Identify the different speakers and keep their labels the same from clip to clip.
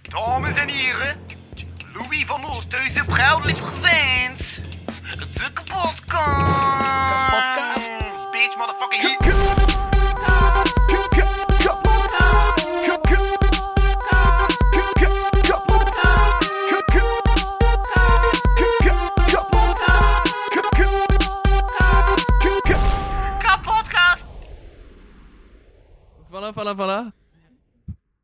Speaker 1: Dames en heren, Louis van Oosthuizen, proudly presents de kapotkast.
Speaker 2: Kapotkast.
Speaker 1: Bitch, motherfucking hit. Kapotkast.
Speaker 3: Voilà, voilà, voilà.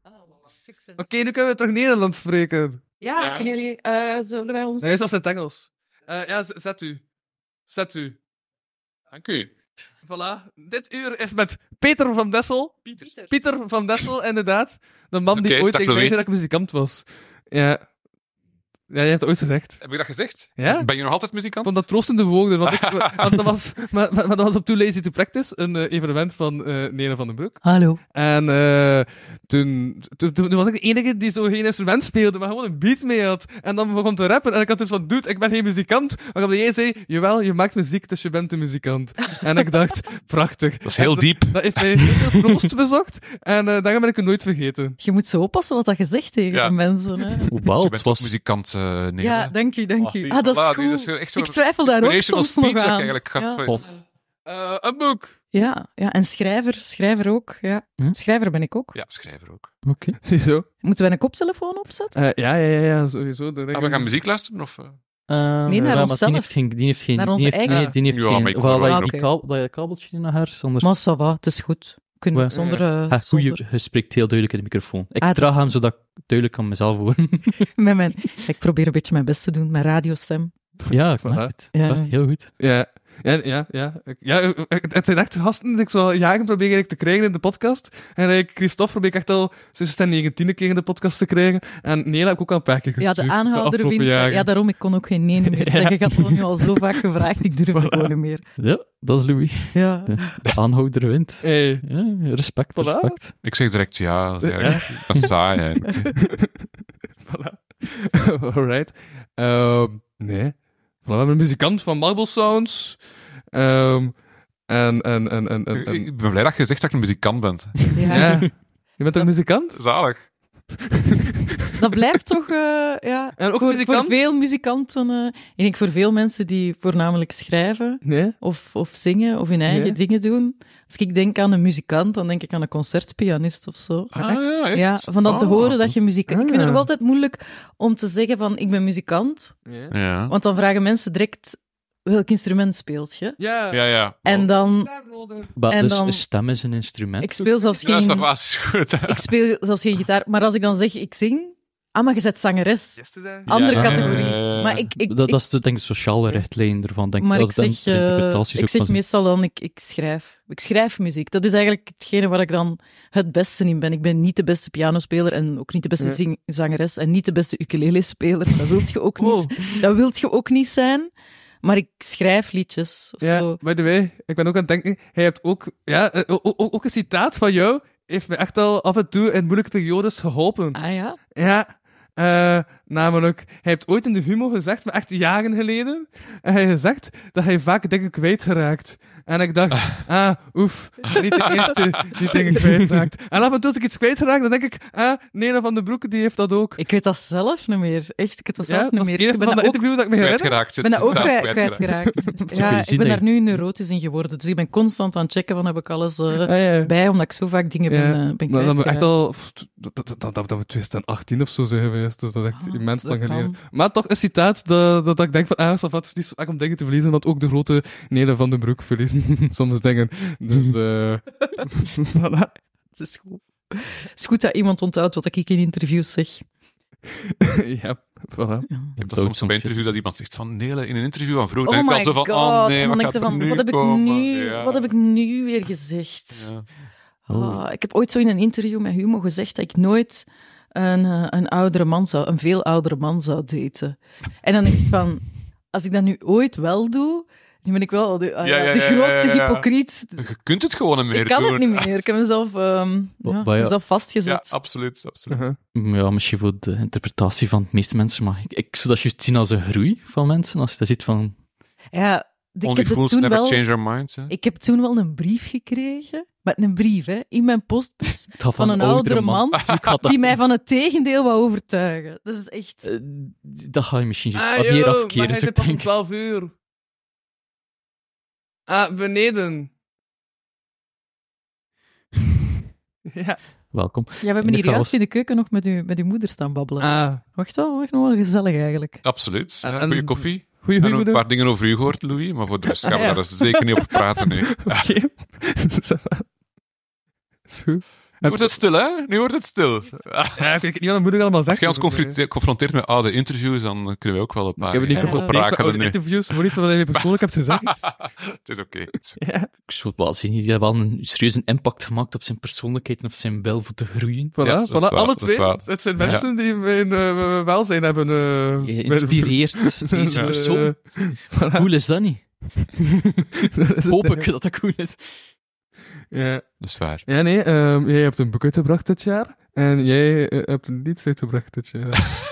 Speaker 4: Oh, Succes.
Speaker 3: Oké, nu kunnen we toch Nederlands spreken?
Speaker 4: Ja,
Speaker 5: Ja.
Speaker 4: kunnen jullie, eh, zullen wij ons...
Speaker 3: Nee, dat is het Engels. Eh, ja, z- zet u. Zet u.
Speaker 5: Dank u.
Speaker 3: Voilà. Dit uur is met Peter van Dessel.
Speaker 5: Pieter.
Speaker 4: Pieter.
Speaker 3: Pieter van Dessel, inderdaad. De man
Speaker 5: Is
Speaker 3: die
Speaker 5: oké,
Speaker 3: ooit
Speaker 5: dag,
Speaker 3: tegen mij
Speaker 5: Louis.
Speaker 3: zei dat ik muzikant was. Ja. Ja, jij hebt het ooit gezegd.
Speaker 5: Heb ik dat gezegd?
Speaker 3: Ja?
Speaker 5: Ben je nog altijd
Speaker 3: Ik
Speaker 5: muzikant?
Speaker 3: vond dat troostende woorden, want, ik, want dat, was, maar, maar- maar dat was op Too Lazy to Practice, een eh, evenement van eh Nere van den Broek.
Speaker 4: Hallo.
Speaker 3: En eh, toen, toen, toen was ik de enige die zo geen instrument speelde, maar gewoon een beat mee had. En dan begon te rappen. En ik had dus van, dude, ik ben geen muzikant. Maar dan jij zei, jawel, je maakt muziek, dus je bent een muzikant. En ik dacht, prachtig.
Speaker 5: Dat is heel diep.
Speaker 3: Dat heeft mij heel veel troost bezorgd. En eh daarom ben ik het nooit vergeten.
Speaker 4: Je moet zo oppassen wat dat je zegt tegen
Speaker 5: Ja.
Speaker 4: de mensen. Hè.
Speaker 6: Wauw,
Speaker 5: Je
Speaker 6: het
Speaker 5: bent toch
Speaker 6: was...
Speaker 5: muzikant, eh Nele?
Speaker 4: Ja, dank u, dank
Speaker 5: Ah,
Speaker 4: u.
Speaker 5: die-
Speaker 4: Ah, dat
Speaker 5: voilà,
Speaker 4: is
Speaker 5: die-
Speaker 4: cool.
Speaker 5: dat is echt zo'n
Speaker 4: ik twijfel daar ook
Speaker 5: Inspirational
Speaker 4: soms nog
Speaker 5: speech dat ik
Speaker 4: aan.
Speaker 5: eigenlijk ga-
Speaker 4: ja.
Speaker 6: Goh.
Speaker 3: Eh, een boek.
Speaker 4: Ja, ja, en schrijver, schrijver ook. Ja.
Speaker 6: Hm?
Speaker 4: Schrijver ben ik ook.
Speaker 5: Ja, schrijver ook.
Speaker 6: Oké.
Speaker 3: Ziezo.
Speaker 4: Moeten wij een koptelefoon opzetten?
Speaker 3: Eh, ja, ja, ja, ja, sowieso. Dan denk
Speaker 5: Ah,
Speaker 3: ik-
Speaker 5: we gaan muziek luisteren? Of, eh?
Speaker 6: Eh,
Speaker 4: Nee, naar
Speaker 6: ja, maar
Speaker 4: onszelf.
Speaker 6: Die heeft geen... Die heeft geen
Speaker 4: Naar
Speaker 6: die
Speaker 4: onze
Speaker 6: heeft-
Speaker 4: eigen-
Speaker 6: Nee, die heeft
Speaker 5: Ja,
Speaker 6: geen...
Speaker 5: maar ik
Speaker 6: Of
Speaker 5: hoor
Speaker 6: dat,
Speaker 5: wel
Speaker 6: je
Speaker 4: ook.
Speaker 6: die kabel, dat je kabeltje naar haar zonder...
Speaker 4: Maar ça va, het is goed. Kunnen
Speaker 6: Ja.
Speaker 4: zonder... eh,
Speaker 6: Ha, goeie,
Speaker 4: zonder-
Speaker 6: je spreekt heel duidelijk in de microfoon. Ik
Speaker 4: Ah, dat
Speaker 6: draag
Speaker 4: is-
Speaker 6: hem zodat ik duidelijk kan mezelf horen.
Speaker 4: Met mijn, ik probeer een beetje mijn best te doen, mijn radiostem.
Speaker 6: ja, ik
Speaker 3: Voilà.
Speaker 6: merk het.
Speaker 4: Ja.
Speaker 6: Echt heel goed.
Speaker 3: Ja, ja, ja. ja. Ik- ja eh, eh, het zijn echt gasten die ik zo al jaren probeer eigenlijk te krijgen in de podcast. En eh, ik, Christophe probeer ik echt al sinds zijn negentiende keer in de podcast te krijgen. En Nela heb ik ook al een paar keer
Speaker 4: Ja,
Speaker 3: gestuurd.
Speaker 4: de aanhouder
Speaker 3: afgelopen
Speaker 4: wint. hè.
Speaker 3: jaren.
Speaker 4: Ja, daarom, ik kon ook geen nee meer zeggen. Ik had het nu al zo vaak gevraagd, ik durf het gewoon niet meer.
Speaker 6: Ja, dat is Louis.
Speaker 4: Ja.
Speaker 6: De aanhouder wint.
Speaker 3: Hey.
Speaker 6: Ja, respect,
Speaker 3: Voilà.
Speaker 6: respect.
Speaker 5: Ik zeg direct ja. Dat is, eigenlijk- dat is saai. hè.
Speaker 3: Voilà. Alright. Ehm, nee. Voilà, we hebben een muzikant van Marble Sounds. Ehm, en, en, en, en, en, en-
Speaker 5: Ik ben blij dat je zegt dat je een muzikant bent.
Speaker 4: Ja.
Speaker 3: Ja. Je bent een muzikant?
Speaker 5: Zalig.
Speaker 4: Dat blijft toch, eh, ja.
Speaker 3: En ook
Speaker 4: voor,
Speaker 3: muzikant?
Speaker 4: voor veel muzikanten, eh, ik denk voor veel mensen die voornamelijk schrijven
Speaker 3: Nee.
Speaker 4: of, of zingen of hun eigen
Speaker 3: Ja.
Speaker 4: dingen doen. Als ik denk aan een muzikant, dan denk ik aan een concertpianist of zo.
Speaker 5: Ah, ja, echt?
Speaker 4: Ja, van dat te
Speaker 5: Ah.
Speaker 4: horen dat je muzikant... Ik vind het
Speaker 3: Ah.
Speaker 4: nog altijd moeilijk om te zeggen van, ik ben muzikant.
Speaker 3: Ja.
Speaker 5: Ja.
Speaker 4: Want dan vragen mensen direct, welk instrument speelt je?
Speaker 3: Ja.
Speaker 5: Ja, ja. Oh.
Speaker 4: En dan,
Speaker 6: Maar
Speaker 4: En
Speaker 6: dus
Speaker 4: dan-
Speaker 6: een stem is een instrument.
Speaker 4: ik speel zelfs
Speaker 5: Ja,
Speaker 4: geen,
Speaker 5: Savaas is goed. hè.
Speaker 4: ik speel zelfs geen gitaar. Maar als ik dan zeg, ik zing, ah, maar je bent zangeres.
Speaker 3: Yesterday.
Speaker 4: Andere
Speaker 5: Ja, ja, ja,
Speaker 4: categorie.
Speaker 5: ja, ja.
Speaker 4: Maar ik, ik,
Speaker 6: dat, dat is de, denk ik de sociale richtlijn ervan. Denk,
Speaker 4: maar
Speaker 6: dat
Speaker 4: ik
Speaker 6: dat
Speaker 4: zeg,
Speaker 6: de
Speaker 4: eh,
Speaker 6: interpretaties
Speaker 4: ik
Speaker 6: ook
Speaker 4: zeg
Speaker 6: van-
Speaker 4: meestal dan, ik, ik schrijf. Ik schrijf muziek. Dat is eigenlijk hetgene waar ik dan het beste in ben. Ik ben niet de beste pianospeler en ook niet de beste
Speaker 3: Ja.
Speaker 4: zing- zangeres en niet de beste ukulele-speler. Dat wilt je ook
Speaker 3: Wow.
Speaker 4: niet. Dat wilt je ook niet zijn. Maar ik schrijf liedjes of
Speaker 3: Ja,
Speaker 4: zo.
Speaker 3: by the way, ik ben ook aan het denken, hij hebt ook, ja, eh, o- o- o- ook een citaat van jou heeft me echt al af en toe in moeilijke periodes geholpen.
Speaker 4: Ah ja?
Speaker 3: Ja, eh, namelijk, hij heeft ooit in de humo gezegd, maar echt jaren geleden, en hij gezegd dat hij vaak dingen kwijtgeraakt. En ik dacht, ah, oef, niet de eerste die dingen kwijtraakt. En af en toe als ik iets kwijtraak, dan denk ik, ah, Nena van den Broek, die heeft dat ook.
Speaker 4: Ik weet dat zelf niet meer. Echt, ik weet dat zelf
Speaker 3: ja,
Speaker 4: niet
Speaker 3: dat is
Speaker 4: meer.
Speaker 3: het
Speaker 4: Ik
Speaker 3: eerste
Speaker 4: ben
Speaker 3: van
Speaker 4: dat
Speaker 3: dat
Speaker 4: ook,
Speaker 3: interview dat ik me herinner.
Speaker 5: Kwijtgeraakt.
Speaker 4: ik ben dat ook
Speaker 5: Inderdaad,
Speaker 4: kwijt- kwijtgeraakt.
Speaker 6: kun
Speaker 4: Ja,
Speaker 6: je zien
Speaker 4: ik ben
Speaker 6: dat
Speaker 4: daar nu neurotisch in geworden. Dus ik ben constant aan het checken van heb ik alles eh,
Speaker 3: Ah, ja.
Speaker 4: bij, omdat ik zo vaak dingen ben, eh, ben
Speaker 3: Maar dan we echt
Speaker 4: kwijtgeraakt.
Speaker 3: al, dat, dat, dat, dat, dat we 2018 of zo zijn geweest, dus dat is echt
Speaker 4: Ah,
Speaker 3: immens
Speaker 4: dat
Speaker 3: lang
Speaker 4: kan.
Speaker 3: geleden. Maar toch een citaat dat, dat, dat ik denk van, ah, Savat is niet zo erg om dingen te verliezen, want ook de grote Nele van den Broek verliest soms dingen. Dus, eh voilà.
Speaker 4: Het is goed. Het is goed dat iemand onthoudt wat ik in interviews zeg.
Speaker 3: ja, voilà.
Speaker 5: Ik heb dat soms bij een interview dat iemand zegt van Nele, in een interview van vroeger.
Speaker 4: oh
Speaker 5: denk ik
Speaker 4: my
Speaker 5: wel zo van,
Speaker 4: god.
Speaker 5: oh nee,
Speaker 4: En dan
Speaker 5: wat
Speaker 4: denk
Speaker 5: gaat
Speaker 4: ik
Speaker 5: er
Speaker 4: van,
Speaker 5: nu
Speaker 4: wat, heb ik
Speaker 5: komen?
Speaker 4: nu,
Speaker 5: Ja.
Speaker 4: wat heb ik nu weer gezegd?
Speaker 5: Ja.
Speaker 6: Oh.
Speaker 4: Ah, ik heb ooit zo in een interview met Humo gezegd dat ik nooit een, eh, een oudere man zou, een veel oudere man zou daten. En dan denk ik van, als ik dat nu ooit wel doe, dan ben ik wel de, ah
Speaker 5: Ja,
Speaker 4: ja,
Speaker 5: ja,
Speaker 4: de
Speaker 5: ja,
Speaker 4: grootste
Speaker 5: ja, ja.
Speaker 4: hypocriet.
Speaker 5: Je kunt het gewoon niet meer
Speaker 4: Ik kan
Speaker 5: doen.
Speaker 4: het niet meer. Ik heb mezelf, ehm,
Speaker 6: Wa-
Speaker 4: ja,
Speaker 6: maar ja.
Speaker 4: mezelf
Speaker 5: Ja,
Speaker 4: vastgezet.
Speaker 5: absoluut. absoluut.
Speaker 3: Uh-huh.
Speaker 6: Ja, misschien voor de interpretatie van de meeste mensen, maar ik, ik zou dat juist zien als een groei van mensen. Als je dat ziet van...
Speaker 4: Ja, ik
Speaker 5: Only
Speaker 4: heb het
Speaker 5: fools
Speaker 4: toen
Speaker 5: never
Speaker 4: wel...
Speaker 5: change their minds. hè.
Speaker 4: Ik heb toen wel een brief gekregen, maar met een brief hè, in mijn postbus
Speaker 6: had
Speaker 4: van een oudere man,
Speaker 6: Ik had dat,
Speaker 4: die mij van het tegendeel wou overtuigen. Dat is echt...
Speaker 6: Eh, dat ga je misschien juist ah, hier afkeren,
Speaker 3: maar
Speaker 6: zo
Speaker 3: hij zit pas om
Speaker 6: denk ik.
Speaker 3: 12 uur. Ah, beneden. ja.
Speaker 6: Welkom.
Speaker 4: Ja, we hebben
Speaker 6: de
Speaker 4: hier juist
Speaker 6: chaos.
Speaker 4: in de keuken nog met uw, met uw moeder staan babbelen.
Speaker 3: Ah,
Speaker 4: Wacht wel, echt nog wel gezellig eigenlijk.
Speaker 5: Absoluut.
Speaker 3: En-
Speaker 5: Ja,
Speaker 3: en-
Speaker 5: goeie koffie.
Speaker 3: goeie,
Speaker 5: En
Speaker 3: goeie
Speaker 5: nog een
Speaker 3: moeder.
Speaker 5: paar dingen over u gehoord, Louis, maar voor de rest gaan we
Speaker 3: Ah, ja.
Speaker 5: daar dus zeker niet over praten. Nee.
Speaker 3: Oké. Ça va. Is goed.
Speaker 5: Nu wordt het stil, hè? Nu wordt het stil.
Speaker 3: Ja, ik weet niet wat mijn moeder allemaal
Speaker 5: Als
Speaker 3: zegt.
Speaker 5: jij ons
Speaker 3: dus, eh,
Speaker 5: confronteert, confronteert met oude interviews, dan kunnen we ook wel een
Speaker 3: Ik
Speaker 5: paar
Speaker 3: eh, heb het niet
Speaker 5: dingen
Speaker 4: veel
Speaker 3: geconfronteerd met
Speaker 4: Oh,
Speaker 5: oprakelen
Speaker 3: oude
Speaker 5: nu.
Speaker 3: interviews, maar niet van wat je persoonlijk hebt gezegd.
Speaker 5: Het is oké.
Speaker 3: Ja.
Speaker 6: Ik zou wel zien, die hebben wel een serieuze impact gemaakt op zijn persoonlijkheid en op zijn wil voor te groeien.
Speaker 3: Voilà,
Speaker 5: dat is
Speaker 3: voilà.
Speaker 5: waar,
Speaker 3: alle
Speaker 5: dat is
Speaker 3: twee.
Speaker 5: waar.
Speaker 3: Het zijn mensen die mijn eh, welzijn hebben... eh,
Speaker 6: Geïnspireerd deze
Speaker 3: eh,
Speaker 6: persoon. Cool is dat niet?
Speaker 3: dat is het,
Speaker 6: Hoop
Speaker 3: eh.
Speaker 6: ik dat dat cool is.
Speaker 3: Ja.
Speaker 5: Dat is waar.
Speaker 3: Ja, nee, ehm, jij hebt een boek uitgebracht dit jaar. En jij eh, hebt een lied uitgebracht dit jaar.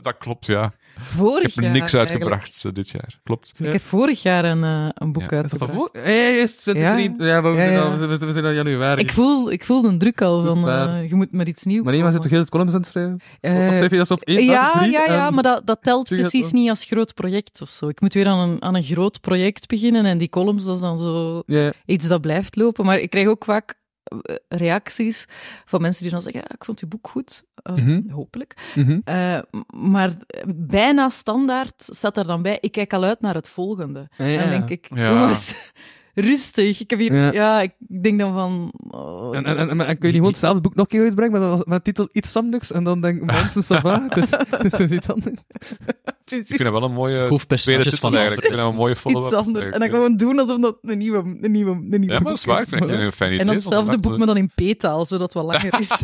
Speaker 5: dat klopt, ja.
Speaker 4: Vorig
Speaker 5: Ik heb
Speaker 4: jaar
Speaker 5: niks
Speaker 4: eigenlijk.
Speaker 5: uitgebracht eh, dit jaar. Klopt.
Speaker 4: Ik heb vorig jaar een, eh, een boek
Speaker 5: Ja.
Speaker 3: Is dat van
Speaker 4: uitgebracht.
Speaker 3: voor? Ja, ja, juist. zit
Speaker 4: Ja.
Speaker 3: er niet- Ja, maar we
Speaker 4: Ja,
Speaker 3: zijn
Speaker 4: ja.
Speaker 3: al- we- we zijn al januari.
Speaker 4: Ik voel, ik voel een druk al
Speaker 3: Dat
Speaker 4: van,
Speaker 3: is waar.
Speaker 4: eh, je moet maar iets nieuws
Speaker 3: Maar nee, maar zit toch heel het columns aan het schrijven?
Speaker 4: Eh,
Speaker 3: of schrijf je dat op één dag,
Speaker 4: ja,
Speaker 3: drie, Ehm,
Speaker 4: ja, ja,
Speaker 3: en-
Speaker 4: maar dat, dat telt
Speaker 3: Zeg je dat
Speaker 4: precies
Speaker 3: dan?
Speaker 4: niet als groot project of zo. Ik moet weer aan een, aan een groot project beginnen en die columns, dat is dan zo
Speaker 3: Ja,
Speaker 4: iets dat blijft lopen. Maar ik krijg ook vaak eh, reacties van mensen die dan zeggen, ja, ik vond uw boek goed, Eh,
Speaker 3: Mhm.
Speaker 4: hopelijk.
Speaker 3: mhm.
Speaker 4: Eh, m- maar bijna standaard staat er dan bij, ik kijk al uit naar het volgende.
Speaker 3: Ja,
Speaker 4: En
Speaker 3: ja.
Speaker 4: dan denk ik,
Speaker 5: Ja.
Speaker 4: jongens, rustig. Ik heb hier,
Speaker 3: Ja.
Speaker 4: ja, ik denk dan van... oh,
Speaker 3: En, en, en, maar- en kun je niet gewoon hetzelfde boek nog een keer uitbrengen met, met titel iets anders? En dan denk ik, mensen, ça va, het is, het is iets anders.
Speaker 4: het is
Speaker 5: Ik vind dat wel een mooie tweede
Speaker 6: Hoofdpersonages
Speaker 5: titel
Speaker 6: van
Speaker 5: eigenlijk. Ik vind dat een mooie follow-up.
Speaker 4: iets anders. En dan
Speaker 5: eigenlijk.
Speaker 4: gewoon doen alsof dat een nieuwe, een nieuwe, een nieuwe
Speaker 5: Ja, maar dat is waar. Ik
Speaker 4: boek
Speaker 5: vind het een fijn idee.
Speaker 4: En dan
Speaker 5: inderdaad.
Speaker 4: hetzelfde boek, maar dan in p-taal, zodat het wat langer is.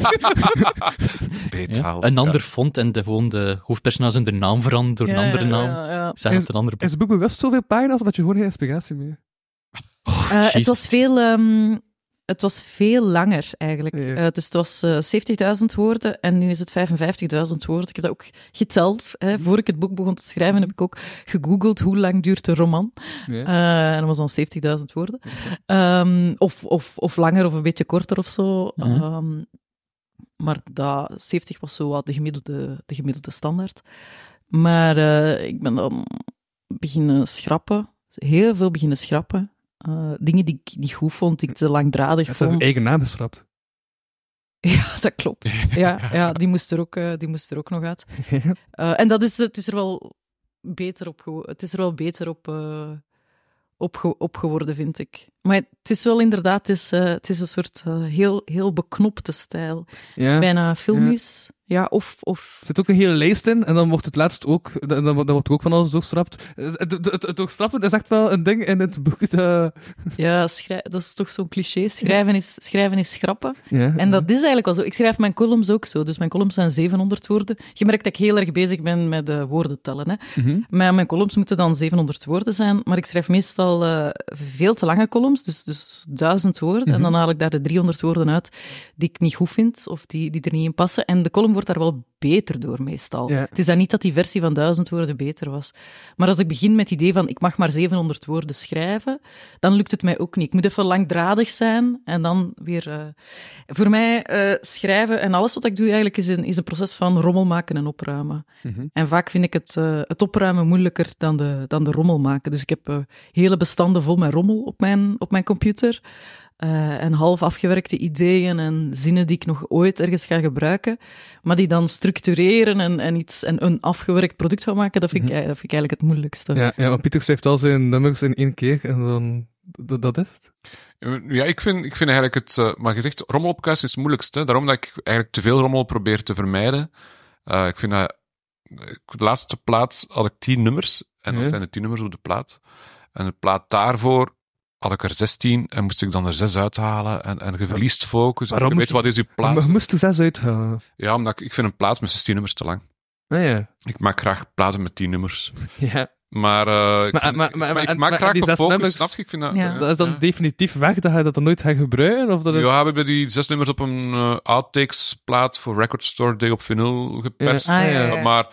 Speaker 6: Ja,
Speaker 5: Beethoven,
Speaker 6: Een
Speaker 5: ja.
Speaker 6: ander font en de, gewoon de hoofdpersonage de naam veranderen door een andere naam.
Speaker 4: Ja, ja.
Speaker 6: Zeg dat het een andere
Speaker 3: Is het boek bewust zoveel pagina's, omdat je gewoon geen inspiratie meer hebt?
Speaker 4: Eh, het,
Speaker 6: Jezus.
Speaker 4: was veel, ehm, het was veel langer, eigenlijk.
Speaker 3: Ja.
Speaker 4: Eh, dus het was eh 70.000 woorden en nu is het 55.000 woorden. Ik heb dat ook geteld. Hè. Voor ik het boek begon te schrijven, heb ik ook gegoogeld hoe lang duurt een roman.
Speaker 3: Ja.
Speaker 4: Eh, en dat was dan 70.000 woorden. Ehm, of, of, of langer of een beetje korter of zo.
Speaker 6: Ja.
Speaker 4: Ehm, maar dat, 70 was zo wat de gemiddelde, de gemiddelde standaard. Maar eh, ik ben dan beginnen schrappen. Heel veel beginnen schrappen. Eh, dingen die ik niet goed vond, die ik te langdradig
Speaker 3: Het is
Speaker 4: vond.
Speaker 3: een eigen naam geschrapt.
Speaker 4: Ja, dat klopt. Ja, ja die, moest er ook, eh, die moest er ook nog uit. Eh, en dat is, het is er wel beter op, gewo- het is er wel beter op, eh, op, ge- op geworden, vind ik. Maar het is wel inderdaad, het is, eh, het is een soort eh, heel, heel beknopte stijl.
Speaker 3: Ja.
Speaker 4: Bijna filmisch. Ja, of... of
Speaker 3: Er zit ook een hele lijst in, en dan wordt het laatst ook, dan, dan, wordt- dan wordt ook van alles doorstrapt. Het, het, het- het doorstrappen is echt wel een ding in het boek. Dat,
Speaker 4: ja, schrij- dat is toch zo'n cliché. Schrijven is, schrijven is schrappen.
Speaker 3: ja.
Speaker 4: En dat is eigenlijk wel zo. Ik schrijf mijn columns ook zo. Dus mijn columns zijn 700 woorden. Je merkt dat ik heel erg bezig ben met eh, woorden tellen. Hè.
Speaker 3: Mhm.
Speaker 4: Maar mijn columns moeten dan 700 woorden zijn. Maar ik schrijf meestal eh, veel te lange columns, dus, dus 1000 woorden. En
Speaker 3: Mhm.
Speaker 4: dan haal ik daar de 300 woorden uit die ik niet goed vind of die, die er niet in passen. En de column wordt daar wel beter door meestal.
Speaker 3: Ja.
Speaker 4: Het is dan niet dat die versie van 1000 woorden beter was. Maar als ik begin met het idee van ik mag maar 700 woorden schrijven, dan lukt het mij ook niet. Ik moet even langdradig zijn en dan weer. eh, voor mij eh, schrijven en alles wat ik doe eigenlijk is een, is een proces van rommel maken en opruimen. En vaak vind ik het, eh, het opruimen moeilijker dan de, dan de rommel maken. Dus ik heb eh, hele bestanden vol met rommel op mijn, op mijn computer. eh, en half afgewerkte ideeën en zinnen die ik nog ooit ergens ga gebruiken. Maar die dan structureren en, en, iets, en een afgewerkt product van maken, dat vind, ik, ei- dat vind ik eigenlijk het moeilijkste.
Speaker 3: Ja, ja, want Pieter schrijft al zijn nummers in één keer en dan. Dat, dat is het.
Speaker 5: Ja, ik vind, ik vind eigenlijk het... eh, maar gezegd, rommel op kast is het moeilijkste. Daarom dat ik eigenlijk te veel rommel probeer te vermijden. Eh, ik vind dat... eh, De laatste plaat had ik tien nummers. En dat
Speaker 3: Ja.
Speaker 5: zijn de tien nummers op de plaat. En de plaat daarvoor had ik er zestien. En moest ik dan er zes uithalen. En, en je verliest focus.
Speaker 3: Waarom
Speaker 5: En je
Speaker 3: moest
Speaker 5: weet, wat is uw
Speaker 3: Maar
Speaker 5: plaat?
Speaker 3: je moest er zes uithalen.
Speaker 5: Ja, omdat ik, ik vind een plaat met zestien nummers te lang.
Speaker 3: Ah, ja.
Speaker 5: Ik maak graag platen met tien nummers.
Speaker 3: ja.
Speaker 5: Maar, eh ik,
Speaker 3: Maar-
Speaker 5: vind-
Speaker 3: maar-
Speaker 5: ik-
Speaker 3: maar-
Speaker 5: ik
Speaker 3: maar-
Speaker 5: maak
Speaker 3: maar
Speaker 5: graag
Speaker 3: die
Speaker 5: een
Speaker 3: zes
Speaker 5: focus,
Speaker 3: nummers-
Speaker 5: snap je? Ik vind dat,
Speaker 4: Ja.
Speaker 5: eh,
Speaker 3: Dat is dan
Speaker 5: ja.
Speaker 3: definitief weg, dat je dat dan nooit gaat gebruiken? Of dat is...
Speaker 5: Ja, we hebben die zes nummers op een eh, outtakes-plaat voor Record Store Day op vinyl geperst. Eh,
Speaker 4: Ah, ja, ja, ja.
Speaker 5: Maar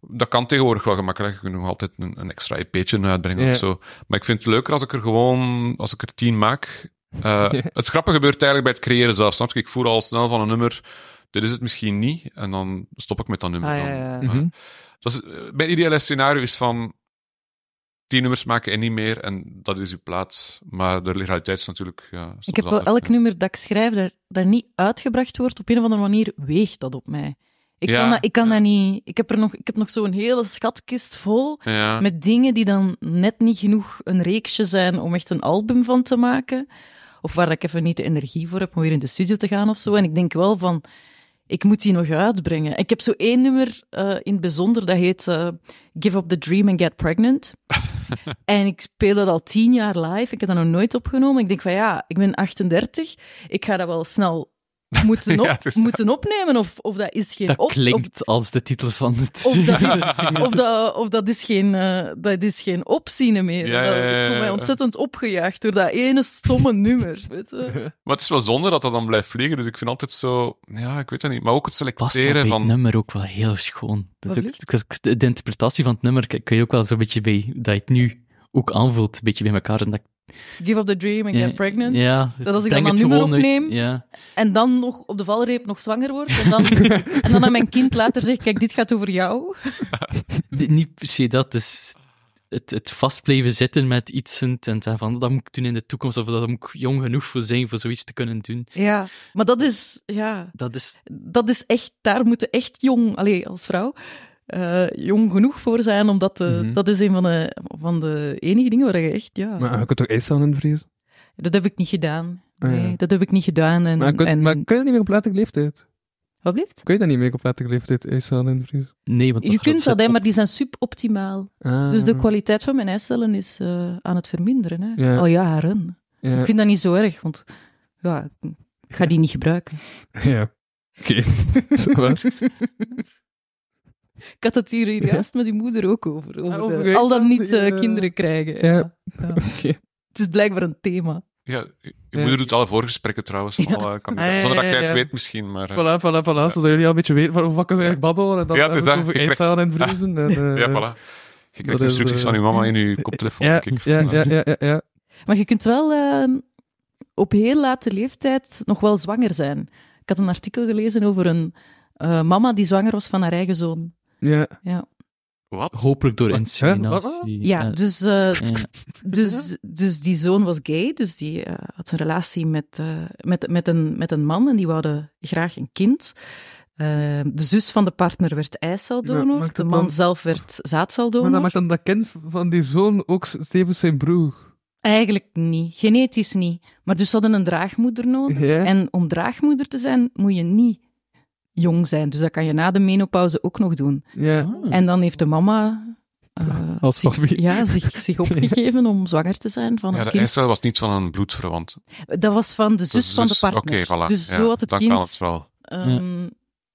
Speaker 5: dat kan tegenwoordig wel gemakkelijk. Je kunt nog altijd een, een extra EP'tje E uitbrengen
Speaker 3: Ja.
Speaker 5: of zo. Maar ik vind het leuker als ik er gewoon, als ik er tien maak Eh, Het schrappen gebeurt eigenlijk bij het creëren zelf, snap je? Ik voer al snel van een nummer, dit is het misschien niet, en dan stop ik met dat nummer.
Speaker 4: Ah, ja,
Speaker 5: dan.
Speaker 4: ja.
Speaker 3: Mhm.
Speaker 5: Maar- dat is, eh, mijn ideale scenario is van tien nummers maken en niet meer, en dat is uw plaats. Maar de realiteit is natuurlijk... Ja, soms
Speaker 4: Ik heb wel
Speaker 5: anders,
Speaker 4: elk nummer dat ik schrijf dat, dat niet uitgebracht wordt, op een of andere manier weegt dat op mij. Ik
Speaker 5: Ja,
Speaker 4: kan, dat, ik kan
Speaker 5: ja.
Speaker 4: dat niet. Ik heb, er nog, ik heb nog zo'n hele schatkist vol
Speaker 5: hè. Ja.
Speaker 4: met dingen die dan net niet genoeg een reeksje zijn om echt een album van te maken. Of waar ik even niet de energie voor heb om weer in de studio te gaan of zo. En ik denk wel van, ik moet die nog uitbrengen. Ik heb zo één nummer eh, in het bijzonder, dat heet eh, Give Up the Dream and Get Pregnant. en ik speel dat al tien jaar live. Ik heb dat nog nooit opgenomen. Ik denk van ja, ik ben 38. Ik ga dat wel snel moeten, op,
Speaker 5: Ja, het is dat.
Speaker 4: moeten opnemen. Of, of dat is geen
Speaker 6: Dat
Speaker 4: op- of-
Speaker 6: klinkt als de titel van het.
Speaker 4: of dat is,
Speaker 6: singeltje.
Speaker 4: of dat, of dat is, geen, eh, dat is geen opzien meer.
Speaker 5: Ja, ja, ja,
Speaker 4: Dat- Ik voel
Speaker 5: ja,
Speaker 4: mij
Speaker 5: ja.
Speaker 4: ontzettend opgejaagd door dat ene stomme nummer. Weet je.
Speaker 5: Maar het is wel zonde dat dat dan blijft vliegen, dus ik vind altijd zo... Ja, ik weet het niet. Maar ook het
Speaker 6: past dat bij
Speaker 5: selecteren
Speaker 6: het
Speaker 5: van...
Speaker 6: nummer ook wel heel schoon. Dat is
Speaker 4: Wat
Speaker 6: ook, ik- ik- de interpretatie van het nummer k- kun je ook wel zo'n beetje bij, dat je het nu ook aanvoelt, een beetje bij elkaar. En dat,
Speaker 4: Give up the dream and
Speaker 6: ja,
Speaker 4: get pregnant.
Speaker 6: Ja,
Speaker 4: Dat als ik
Speaker 6: breng
Speaker 4: dan
Speaker 6: het
Speaker 4: dat nummer
Speaker 6: gewoon uit-
Speaker 4: opneem-
Speaker 6: Ja,
Speaker 4: En dan nog op de valreep nog zwanger wordt. En dan, en dan aan mijn kind later zegt, kijk, dit gaat over jou.
Speaker 6: Niet- niet per se dat, dus het, het vast blijven zitten met iets en en zeggen van, dat moet ik doen in de toekomst, of dat moet ik jong genoeg voor zijn voor zoiets te kunnen doen.
Speaker 4: Ja. Maar dat is, ja,
Speaker 6: Dat is
Speaker 4: dat is echt, daar moeten echt jong, alleen als vrouw, eh, jong genoeg voor zijn. Omdat dat te-
Speaker 5: Mhm.
Speaker 4: dat is een van de, van de enige dingen waar je echt, ja.
Speaker 3: Maar je kunt toch ijstaan in vrees?
Speaker 4: Dat heb ik niet gedaan.
Speaker 3: Ah, ja.
Speaker 4: Nee, dat heb ik niet gedaan. En,
Speaker 3: Maar kun,
Speaker 4: en...
Speaker 3: maar kun je dat niet meer op latere leeftijd?
Speaker 4: Wat blijft?
Speaker 3: Kun je dat niet meer op latere leeftijd ijstaan in vrees?
Speaker 6: Nee, want
Speaker 4: Je kunt dat, hè,
Speaker 6: helemaal
Speaker 4: maar die zijn suboptimaal.
Speaker 3: Ah,
Speaker 4: Dus de kwaliteit van mijn eicellen is eh, aan het verminderen. Hè.
Speaker 3: Ja.
Speaker 4: Al jaren.
Speaker 3: ja.
Speaker 4: Ik vind dat niet zo erg, want ja, ik ga die niet gebruiken.
Speaker 3: Ja. Oké. Ça va.
Speaker 4: Ik had het hier hier juist met die moeder ook over. over
Speaker 3: Ah,
Speaker 4: de-
Speaker 3: over de
Speaker 4: al dan niet
Speaker 3: eicellen die,
Speaker 4: eh,
Speaker 3: eh,
Speaker 4: kinderen krijgen.
Speaker 3: ja.
Speaker 4: Ja. Het is blijkbaar een thema.
Speaker 5: Ja, je
Speaker 3: Ja.
Speaker 5: moeder doet alle voorgesprekken trouwens, van alle kandidaten.
Speaker 3: Ah, ja,
Speaker 5: Zonder dat
Speaker 3: ja,
Speaker 5: jij het
Speaker 3: ja.
Speaker 5: weet misschien, maar... eh,
Speaker 3: Voilà, voilà, voilà. Zodat jullie al een beetje weten van hoe vakken we eigenlijk babbelen. En dan
Speaker 5: Ja, het
Speaker 3: hebben
Speaker 5: is
Speaker 3: we het over
Speaker 5: dat. Je krijgt-
Speaker 3: ijstaan en vriezen. En, eh,
Speaker 5: Ja, voilà. Je
Speaker 3: dat
Speaker 5: krijgt
Speaker 3: is,
Speaker 5: instructies
Speaker 3: eh,
Speaker 5: van je mama in je koptelefoon.
Speaker 3: Ja,
Speaker 5: denk ik.
Speaker 3: ja, ja, ja, ja, ja.
Speaker 4: Maar je kunt wel eh, op heel late leeftijd nog wel zwanger zijn. Ik had een artikel gelezen over een eh, mama die zwanger was van haar eigen zoon.
Speaker 3: ja.
Speaker 4: Ja,
Speaker 5: Wat?
Speaker 6: Hopelijk door
Speaker 3: Wat? Hè? Wat?
Speaker 6: inseminatie.
Speaker 4: ja,
Speaker 6: Eh,
Speaker 4: dus, eh,
Speaker 6: eh,
Speaker 4: dus,
Speaker 3: Mhm.
Speaker 4: dus die zoon was gay, dus die eh, had een relatie met, eh, met, met, een, met een man en die wouden graag een kind. Eh, de zus van de partner werd
Speaker 3: Maar
Speaker 4: eiceldonor,
Speaker 3: maakt
Speaker 4: de
Speaker 3: het
Speaker 4: man
Speaker 3: dan-
Speaker 4: zelf werd
Speaker 3: Maar
Speaker 4: zaadceldonor.
Speaker 3: dan maakt dan dat kind van die zoon ook tevens zijn broer.
Speaker 4: Eigenlijk niet, genetisch niet. Maar dus ze hadden een draagmoeder nodig.
Speaker 3: Ja.
Speaker 4: En om draagmoeder te zijn, moet je niet jong zijn. Dus dat kan je na de menopauze ook nog doen.
Speaker 3: Ja.
Speaker 4: En dan heeft de mama eh,
Speaker 3: Hmm. Als
Speaker 4: zich,
Speaker 3: hobby.
Speaker 4: ja, zich, zich opgegeven om zwanger te zijn van
Speaker 5: Ja,
Speaker 4: het
Speaker 5: de
Speaker 4: kind.
Speaker 5: ijswel was niet van een bloedverwant.
Speaker 4: Dat was van de zus van de
Speaker 5: Dus-
Speaker 4: partner.
Speaker 5: Oké, voilà.
Speaker 4: Dus
Speaker 5: Ja,
Speaker 4: zo had het
Speaker 5: dan
Speaker 4: kind...
Speaker 5: kan het wel.
Speaker 4: ehm,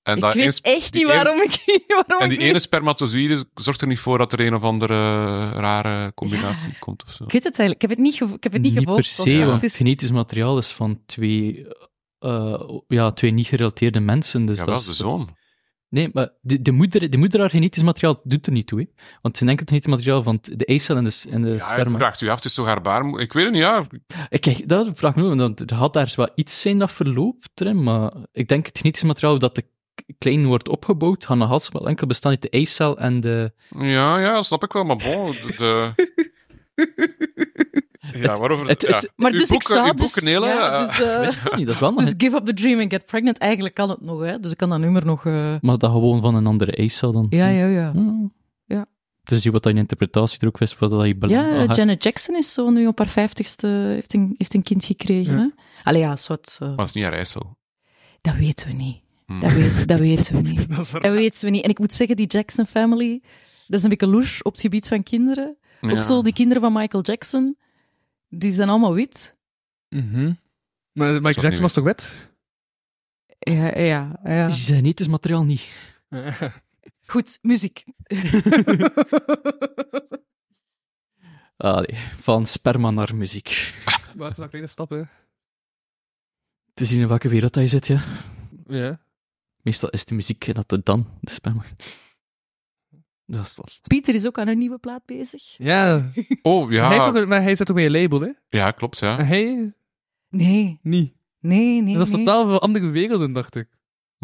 Speaker 5: En,
Speaker 4: ik
Speaker 5: dat
Speaker 4: weet
Speaker 5: eens-
Speaker 4: echt
Speaker 5: die
Speaker 4: niet
Speaker 5: een-
Speaker 4: waarom ik... Waarom
Speaker 5: en
Speaker 4: ik
Speaker 5: die
Speaker 4: weet-
Speaker 5: ene spermatozoïde zorgt er niet voor dat er een of andere eh, rare combinatie komt of zo.
Speaker 4: Ik weet het eigenlijk. Ik heb het niet, gevo- ik heb het niet,
Speaker 6: niet per
Speaker 4: gevolgd. zoals
Speaker 6: se,
Speaker 4: het
Speaker 6: want
Speaker 4: is.
Speaker 6: genetisch materiaal is van twee, eh, ja, twee niet gerelateerde mensen. Dus
Speaker 5: ja,
Speaker 6: dat
Speaker 5: wel,
Speaker 6: is-
Speaker 5: de zoon.
Speaker 6: Nee, maar de, de, moeder, de moeder haar genetisch materiaal doet er niet toe. Hè? Want ze denkt het genetisch materiaal van t- de eicel en de, s- en de
Speaker 5: Ja, ik
Speaker 6: sperma.
Speaker 5: vraagt u af, het is toch haar baarmoeder? Ik weet het niet, ja.
Speaker 6: Eh, Kijk, dat vraag ik me ook, want er had daar wel iets zijn dat verloopt erin, maar ik denk het genetisch materiaal dat de k- klein wordt opgebouwd, gaan nog altijd wel enkel bestaan uit de eicel en de...
Speaker 5: Ja, ja, snap ik wel, maar bon, de... de- Ja, waarover...
Speaker 6: het-
Speaker 5: ja.
Speaker 6: het-
Speaker 4: Maar
Speaker 5: Uw
Speaker 4: dus ik
Speaker 5: boek-
Speaker 4: zou
Speaker 5: uw
Speaker 4: dus...
Speaker 5: boek, Nele,
Speaker 4: ja,
Speaker 5: eh,
Speaker 4: dus, eh,
Speaker 6: Wist dat niet, dat is wel nog...
Speaker 4: dus give up the dream and get pregnant. Eigenlijk kan het nog, hè. Dus ik kan dat nummer nog... eh,
Speaker 6: Maar dat gewoon van een andere eicel dan...
Speaker 4: Ja, ja, ja.
Speaker 6: Hmm.
Speaker 4: Ja.
Speaker 6: Dus zie wat dat je interpretatie er ook is, wat dat je belangt.
Speaker 4: Ja, Janet Jackson is zo nu op haar vijftigste, heeft een, heeft een kind gekregen.
Speaker 3: Ja.
Speaker 4: Hè? Allee, ja, zwart, eh,
Speaker 5: Maar het is niet haar eicel.
Speaker 4: dat weten we niet.
Speaker 5: Hmm.
Speaker 4: Dat, weet- dat weten we niet.
Speaker 3: Dat is raar.
Speaker 4: Dat weten we niet. En ik moet zeggen, die Jackson family, dat is een beetje loer op het gebied van kinderen.
Speaker 5: Ja.
Speaker 4: Ook zo, die kinderen van Michael Jackson, die zijn allemaal wit.
Speaker 3: Mhm. Maar Mike
Speaker 5: niet
Speaker 3: Jackson was toch wet?
Speaker 4: Ja, ja, ja.
Speaker 6: Dus je genetisch materiaal niet.
Speaker 4: Goed, muziek.
Speaker 6: Allee, van sperma naar muziek.
Speaker 3: Maar het is een kleine stap, hè.
Speaker 6: Te zien in welke wereld dat je zit, ja.
Speaker 3: Ja.
Speaker 6: Meestal is de muziek dat het dan, de sperma. Dat is wat.
Speaker 4: Pieter is ook aan een nieuwe plaat bezig.
Speaker 3: Ja.
Speaker 5: Oh,
Speaker 3: Hij, heeft
Speaker 5: ja.
Speaker 3: ook, maar hij zit ook bij een label, hè.
Speaker 5: Ja, klopt, ja.
Speaker 3: En hij...
Speaker 4: Nee,
Speaker 3: Niet.
Speaker 4: nee, nee.
Speaker 3: dat is
Speaker 4: nee.
Speaker 3: totaal veel andere werelden, dacht ik.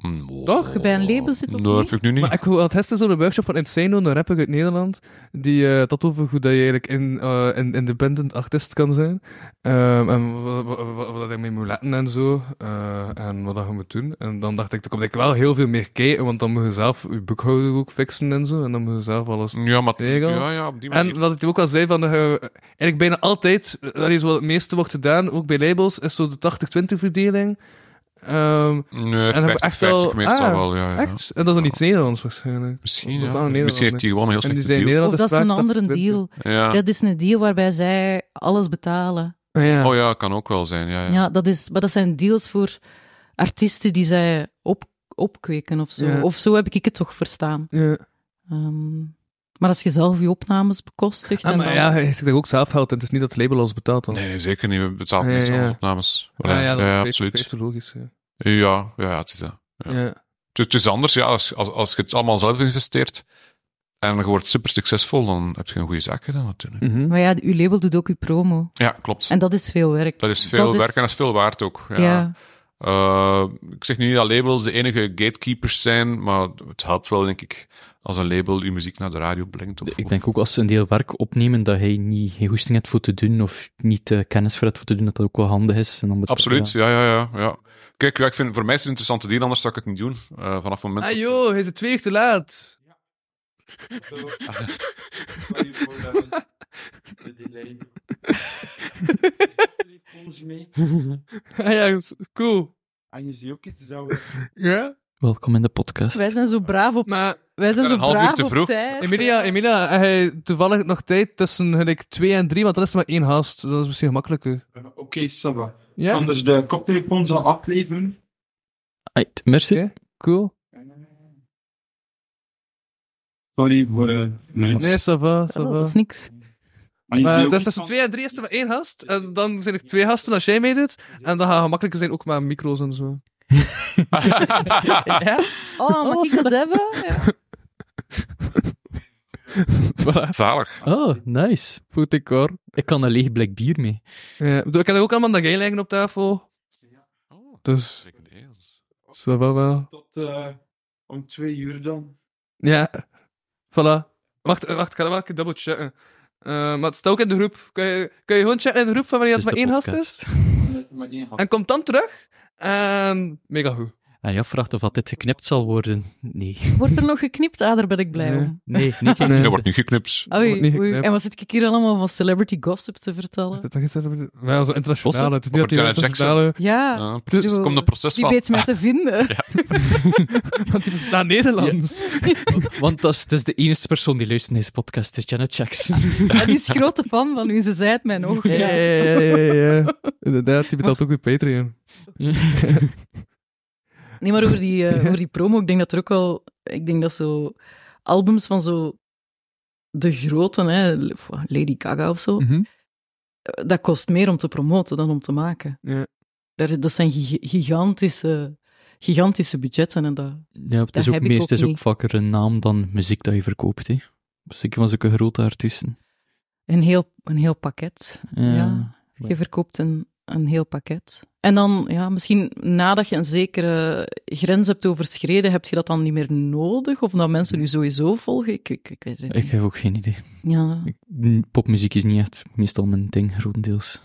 Speaker 5: Mm,
Speaker 3: Toch?
Speaker 4: Bij een label zit dat
Speaker 5: Nee,
Speaker 4: niet?
Speaker 5: dat vind ik nu niet.
Speaker 3: Maar ik had gisteren zo'n workshop van Insano, een rapper uit Nederland, die eh dat over hoe dat je eigenlijk in, eh, een independent artiest kan zijn. Ehm, en wat, wat, wat, wat je mee moet letten en zo. eh, en wat dat je moet doen. En dan dacht ik, er komt eigenlijk wel heel veel meer kijken, want dan moet je zelf je boekhouding ook fixen en zo. En dan moet je zelf alles
Speaker 5: Ja, maar...
Speaker 3: Regel.
Speaker 5: Ja, ja, op die manier.
Speaker 3: en wat ik ook al zei, van, eh, eigenlijk bijna altijd, eh, dat is wat het meeste wordt gedaan, ook bij labels, is zo de 80-20 verdeling. Ehm,
Speaker 5: Nee,
Speaker 3: dan heb ik
Speaker 5: 50,
Speaker 3: echt wel-
Speaker 5: 50 meestal
Speaker 3: ah,
Speaker 5: wel, ja. ja.
Speaker 3: Echt? En dat is dan iets Nederlands waarschijnlijk. Of
Speaker 5: Misschien,
Speaker 3: wel
Speaker 5: ja.
Speaker 3: in Nederland,
Speaker 5: Misschien heeft hij gewoon een heel
Speaker 3: En die
Speaker 5: slechte
Speaker 3: zijn in
Speaker 5: deal.
Speaker 3: Nederland
Speaker 4: Of Oh, dat is een
Speaker 3: vaak
Speaker 4: andere
Speaker 3: 80-20.
Speaker 4: deal.
Speaker 5: Ja.
Speaker 4: Dat is een deal waarbij zij alles betalen.
Speaker 3: Ah, ja.
Speaker 5: Oh ja, kan ook wel zijn, ja. ja.
Speaker 4: Ja, dat is, maar dat zijn deals voor artiesten die zij op, opkweken of zo.
Speaker 3: Ja.
Speaker 4: Of zo heb ik het toch verstaan.
Speaker 3: Ja.
Speaker 4: Ehm, maar als je zelf je opnames bekostigt.
Speaker 3: Ah,
Speaker 4: en
Speaker 3: maar
Speaker 4: dan-
Speaker 3: ja, hij zegt daar ook zelf geld en het is niet dat het label alles betaalt dan.
Speaker 5: Nee, nee, zeker niet. We betalen
Speaker 3: Ja,
Speaker 5: meestal
Speaker 3: ja.
Speaker 5: onze opnames.
Speaker 3: Ah, ja, dat is veel-
Speaker 5: absoluut.
Speaker 3: veel te logisch. Ja.
Speaker 5: Ja, ja, het is dat. Ja.
Speaker 3: Ja.
Speaker 5: Het- Het is anders, ja. Als, als, als je het allemaal zelf investeert en je wordt super succesvol, dan heb je een goede zaak gedaan natuurlijk.
Speaker 3: Mhm.
Speaker 4: Maar ja, uw label doet ook uw promo.
Speaker 5: Ja, klopt.
Speaker 4: En dat is veel werk.
Speaker 5: dat is veel
Speaker 4: dat is-
Speaker 5: werk en dat is veel waard ook. Ja.
Speaker 4: Ja.
Speaker 5: Eh, ik zeg nu niet dat labels de enige gatekeepers zijn, maar het helpt wel, denk ik, als een label je muziek naar de radio brengt. Of,
Speaker 6: Ik denk ook als ze een deel werk opnemen dat hij niet, geen hoesting heeft voor te doen of niet eh, kennis voor heeft voor te doen, dat dat ook wel handig is. En dan moet-
Speaker 5: Absoluut,
Speaker 6: ja.
Speaker 5: ja, ja, ja. ja. Kijk, ja, ik vind, voor mij is het een interessante deal, anders zou ik het niet doen. Eh, vanaf het moment...
Speaker 3: Ah
Speaker 5: dat-
Speaker 3: joh, hij is het twee uur te laat.
Speaker 2: Ah. Volgens mij.
Speaker 3: Ah ja, is- cool.
Speaker 2: En Ah, je ziet ook iets dat we
Speaker 3: Ja?
Speaker 6: Welkom in de podcast.
Speaker 4: Wij zijn zo braaf op,
Speaker 3: Maar
Speaker 4: wij zijn
Speaker 5: ben
Speaker 4: zo
Speaker 5: een half uur
Speaker 4: braaf
Speaker 5: te
Speaker 4: op
Speaker 5: vroeg.
Speaker 4: tijd.
Speaker 3: Emilia, Emilia, heb jij toevallig nog tijd tussen gelijk twee en drie, want dan is er maar één haast. Dus dat is misschien gemakkelijker.
Speaker 2: Eh, Oké, Sabba.
Speaker 3: Ja?
Speaker 2: Anders de koptelefoon zal afleveren.
Speaker 6: Right, merci.
Speaker 3: Oké. Cool.
Speaker 2: Sorry voor eh, de
Speaker 3: Nee, ça va, ça
Speaker 4: Oh, dat is
Speaker 3: va.
Speaker 4: niks.
Speaker 2: eh,
Speaker 3: Maar, dus tussen twee en drie is er maar één gast. En dan zijn er twee gasten als jij meedoet. En dan gaan gemakkelijker zijn ook maar micro's en zo.
Speaker 4: Oh, mag ik dat hebben? Ja.
Speaker 3: voilà,
Speaker 5: Zalig.
Speaker 6: Oh, nice.
Speaker 3: goed ik hoor.
Speaker 6: Ik kan een leeg blik bier mee.
Speaker 3: Ja, ik bedoel, ik heb er ook allemaal naar liggen op tafel.
Speaker 5: Oh,
Speaker 3: Dus, ça va wel.
Speaker 2: Tot eh, om twee uur dan.
Speaker 3: Ja, voilà. Wacht, eh, wacht, ik ga dat wel een keer dubbel checken. Eh, maar het staat ook in de groep. Kun je, kun je gewoon checken in de groep van wanneer
Speaker 6: Het
Speaker 3: het
Speaker 6: is
Speaker 3: maar
Speaker 6: de
Speaker 3: één gast
Speaker 6: podcast.
Speaker 3: is?
Speaker 2: Maar één gast.
Speaker 3: En komt dan terug. En mega goed.
Speaker 6: En je vraagt of dat dit geknipt zal worden. Nee.
Speaker 4: Wordt er nog geknipt? Ah, daar ben ik blij
Speaker 3: Nee.
Speaker 4: om.
Speaker 6: Nee, niet
Speaker 3: Nee.
Speaker 5: Dat
Speaker 6: geknipt.
Speaker 5: wordt nu geknipt.
Speaker 3: Wordt niet
Speaker 4: Oei, oei.
Speaker 3: geknipt.
Speaker 4: En wat zit ik hier allemaal van celebrity gossip te vertellen?
Speaker 3: Dat is wel zo internationaal.
Speaker 6: Bossen?
Speaker 3: Het is niet dat die
Speaker 5: Janet
Speaker 3: internationale...
Speaker 4: Ja,
Speaker 3: Ah.
Speaker 5: Ja,
Speaker 3: dus
Speaker 5: precies.
Speaker 4: Zo,
Speaker 5: Het Ah, komt een proces
Speaker 4: die
Speaker 5: van.
Speaker 4: weet mij te vinden.
Speaker 3: Want die verstaan Nederlands.
Speaker 6: Want dat is, dat is de enige persoon die luistert naar deze podcast, is Janet Jackson.
Speaker 4: En die is grote fan van u, ze zei het mij nog.
Speaker 3: Ja, ja, ja, ja, ja, ja. Inderdaad, die betaalt ook de Patreon.
Speaker 4: Ah. Nee, maar over die, eh, over die promo, ik denk dat er ook wel... Ik denk dat zo albums van zo de grote, hè, of Lady Gaga of zo,
Speaker 3: Mhm.
Speaker 4: eh, dat kost meer om te promoten dan om te maken.
Speaker 3: Ja.
Speaker 4: Daar, dat zijn gig- gigantische, gigantische budgetten. En dat,
Speaker 6: Ja, het
Speaker 4: Dat
Speaker 6: is ook
Speaker 4: heb ik
Speaker 6: meer,
Speaker 4: ook
Speaker 6: het is ook
Speaker 4: niet.
Speaker 6: vaker een naam dan muziek dat je verkoopt, hè. Dus Zeker van zulke grote artiesten.
Speaker 4: een, heel, een heel pakket.
Speaker 6: Ja.
Speaker 4: Ja. Je verkoopt een, een heel pakket. En dan, ja, misschien nadat je een zekere grens hebt overschreden, heb je dat dan niet meer nodig? Of dat mensen u sowieso volgen? Ik, ik, ik weet het
Speaker 6: Ik
Speaker 4: niet.
Speaker 6: heb ook geen idee.
Speaker 4: Ja.
Speaker 6: Ik- popmuziek is niet echt meestal mijn ding, grotendeels.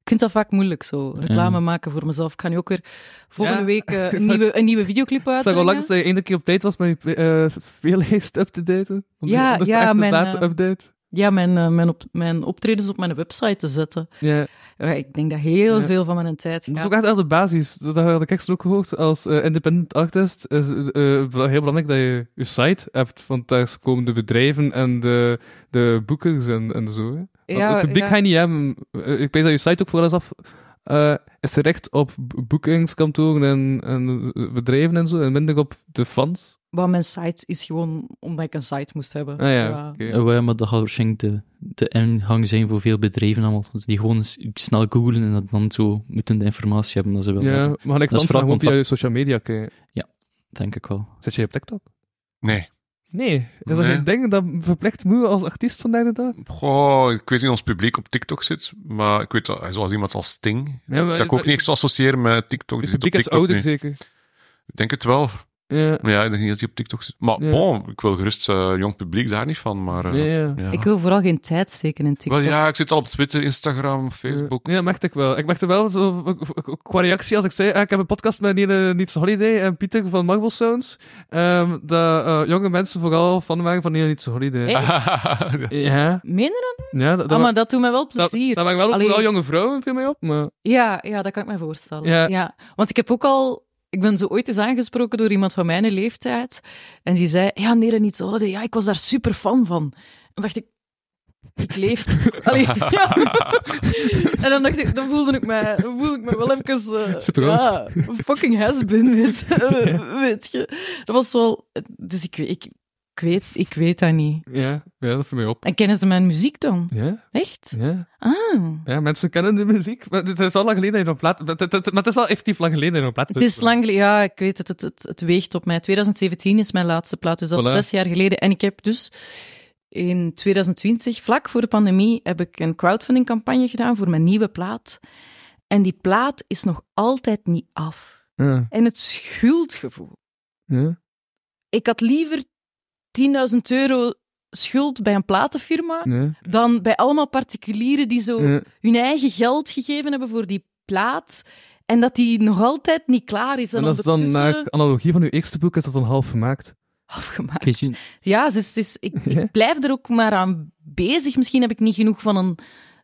Speaker 4: Ik vind dat vaak moeilijk, zo. Reclame
Speaker 6: Ja.
Speaker 4: maken voor mezelf. Ik ga nu ook weer volgende
Speaker 3: Ja.
Speaker 4: week eh, een, nieuwe, een nieuwe videoclip
Speaker 3: Ik zag al
Speaker 4: uitbrengen.
Speaker 3: langs dat je één keer op tijd was met je eh, speellijst up te daten. Om
Speaker 4: Ja,
Speaker 3: de, om de
Speaker 4: ja,
Speaker 3: echte
Speaker 4: mijn,
Speaker 3: data
Speaker 4: eh,
Speaker 3: update.
Speaker 4: Ja, mijn, eh, mijn, op, mijn optredens op mijn website te zetten.
Speaker 3: Ja.
Speaker 4: Ja, ik denk dat heel
Speaker 3: Ja.
Speaker 4: veel van mijn tijd
Speaker 3: Dat is
Speaker 4: gaat.
Speaker 3: ook echt echt de basis. Dat had ik extra ook gehoord. Als eh, independent artist is het heel belangrijk dat je je site hebt. Want daar komen de bedrijven en de, de boekers en, en zo. hè. Want
Speaker 4: Ja,
Speaker 3: het publiek
Speaker 4: ja.
Speaker 3: ga je niet hebben. Eh, Ik weet dat je site ook voor alles af eh, is terecht op b- boekingskantoren en, en eh, bedrijven en zo. En minder op de fans.
Speaker 4: Maar mijn site is gewoon omdat ik een site moest hebben.
Speaker 3: Ah ja,
Speaker 4: Ja.
Speaker 3: oké.
Speaker 6: Eh, ja, maar dat gaat waarschijnlijk de, de ingang zijn voor veel bedrijven allemaal. Dus die gewoon s- snel googlen en dat dan zo moeten de informatie hebben dat ze willen.
Speaker 3: Ja,
Speaker 6: hebben,
Speaker 3: maar ik
Speaker 6: vooral
Speaker 3: kan gewoon via
Speaker 6: contact.
Speaker 3: je social media kijken.
Speaker 6: Denk ik wel.
Speaker 3: Zit je op TikTok?
Speaker 5: Nee.
Speaker 3: Nee, is dat
Speaker 5: Nee.
Speaker 3: geen ding dat verplicht moet als artiest vandaag de dag?
Speaker 5: Goh, ik weet niet of ons publiek op TikTok zit, maar ik weet dat, zoals iemand als Sting,
Speaker 3: Ja, maar-
Speaker 5: dat ik ook niet echt associëren met TikTok.
Speaker 3: Het
Speaker 5: Die zit op
Speaker 3: publiek is
Speaker 5: TikTok
Speaker 3: ouder
Speaker 5: nu.
Speaker 3: zeker.
Speaker 5: Ik denk het wel.
Speaker 3: Ja.
Speaker 5: Maar ja, ik denk niet dat hij op TikTok zit. Maar
Speaker 3: Ja.
Speaker 5: bon, ik wil gerust eh, jong publiek daar niet van, maar... eh,
Speaker 3: Nee, ja.
Speaker 5: ja.
Speaker 4: Ik wil vooral geen tijd steken in TikTok.
Speaker 5: Wel ja, ik zit al op Twitter, Instagram, Facebook.
Speaker 3: Eh, Ja, merkte ik wel. Ik merkte wel, zo, eh, qua reactie, als ik zei, ah, ik heb een podcast met Nina Niets Holiday en Pieter van Marble Sounds, ehm, dat eh, jonge mensen vooral fan waren van Nina Niets Holiday.
Speaker 4: Echt?
Speaker 5: Ja.
Speaker 3: Ja,
Speaker 4: Meen je dat?
Speaker 3: ja dat, dat,
Speaker 4: Ah, maar dat doet mij wel
Speaker 3: dat,
Speaker 4: plezier.
Speaker 3: dat waren wel ook
Speaker 4: Allee.
Speaker 3: vooral jonge vrouwen, veel mee op. Maar,
Speaker 4: Ja, ja, dat kan ik me voorstellen.
Speaker 3: Ja.
Speaker 4: Ja. Want ik heb ook al... Ik ben zo ooit eens aangesproken door iemand van mijn leeftijd. En die zei, ja, nee, niet zo. Ja, ik was daar super fan van. En dacht ik, ik leef. Allee, ja. En dan dacht ik, dan voelde ik me, dan voelde ik me wel even... eh,
Speaker 6: Super
Speaker 4: ja, fucking has-been, weet, je. weet je. Dat was wel... Dus ik, ik, ik, weet, ik weet dat niet.
Speaker 3: ja, ja, dat viel mij op.
Speaker 4: En kennen ze mijn muziek dan?
Speaker 3: Ja,
Speaker 4: Echt?
Speaker 3: ja.
Speaker 4: Ah.
Speaker 3: ja, mensen kennen de muziek. Maar het is al lang geleden dat je een plaat... Maar het- het- maar het is wel effectief lang geleden dat je dus een plaat...
Speaker 4: Het is lang geleden, ja, ik weet het, het, het, het weegt op mij. 2017 is mijn laatste plaat, dus dat is
Speaker 3: Voilà.
Speaker 4: zes jaar geleden. En ik heb dus in 2020, vlak voor de pandemie, heb ik een crowdfundingcampagne gedaan voor mijn nieuwe plaat. En die plaat is nog altijd niet af.
Speaker 3: Ja,
Speaker 4: En het schuldgevoel.
Speaker 3: ja.
Speaker 4: Ik had liever 10.000 euro schuld bij een platenfirma
Speaker 3: ja,
Speaker 4: dan bij allemaal particulieren die zo
Speaker 3: ja.
Speaker 4: hun eigen geld gegeven hebben voor die plaat. En dat die nog altijd niet klaar is. En,
Speaker 3: En dat is dan,
Speaker 4: ondertussen-
Speaker 3: naar analogie van uw eerste boek, is dat dan half gemaakt.
Speaker 4: afgemaakt.
Speaker 6: Kun je zien.
Speaker 4: Ja, ze is, ze is- ik, ik blijf er ook maar aan bezig. Misschien heb ik niet genoeg van een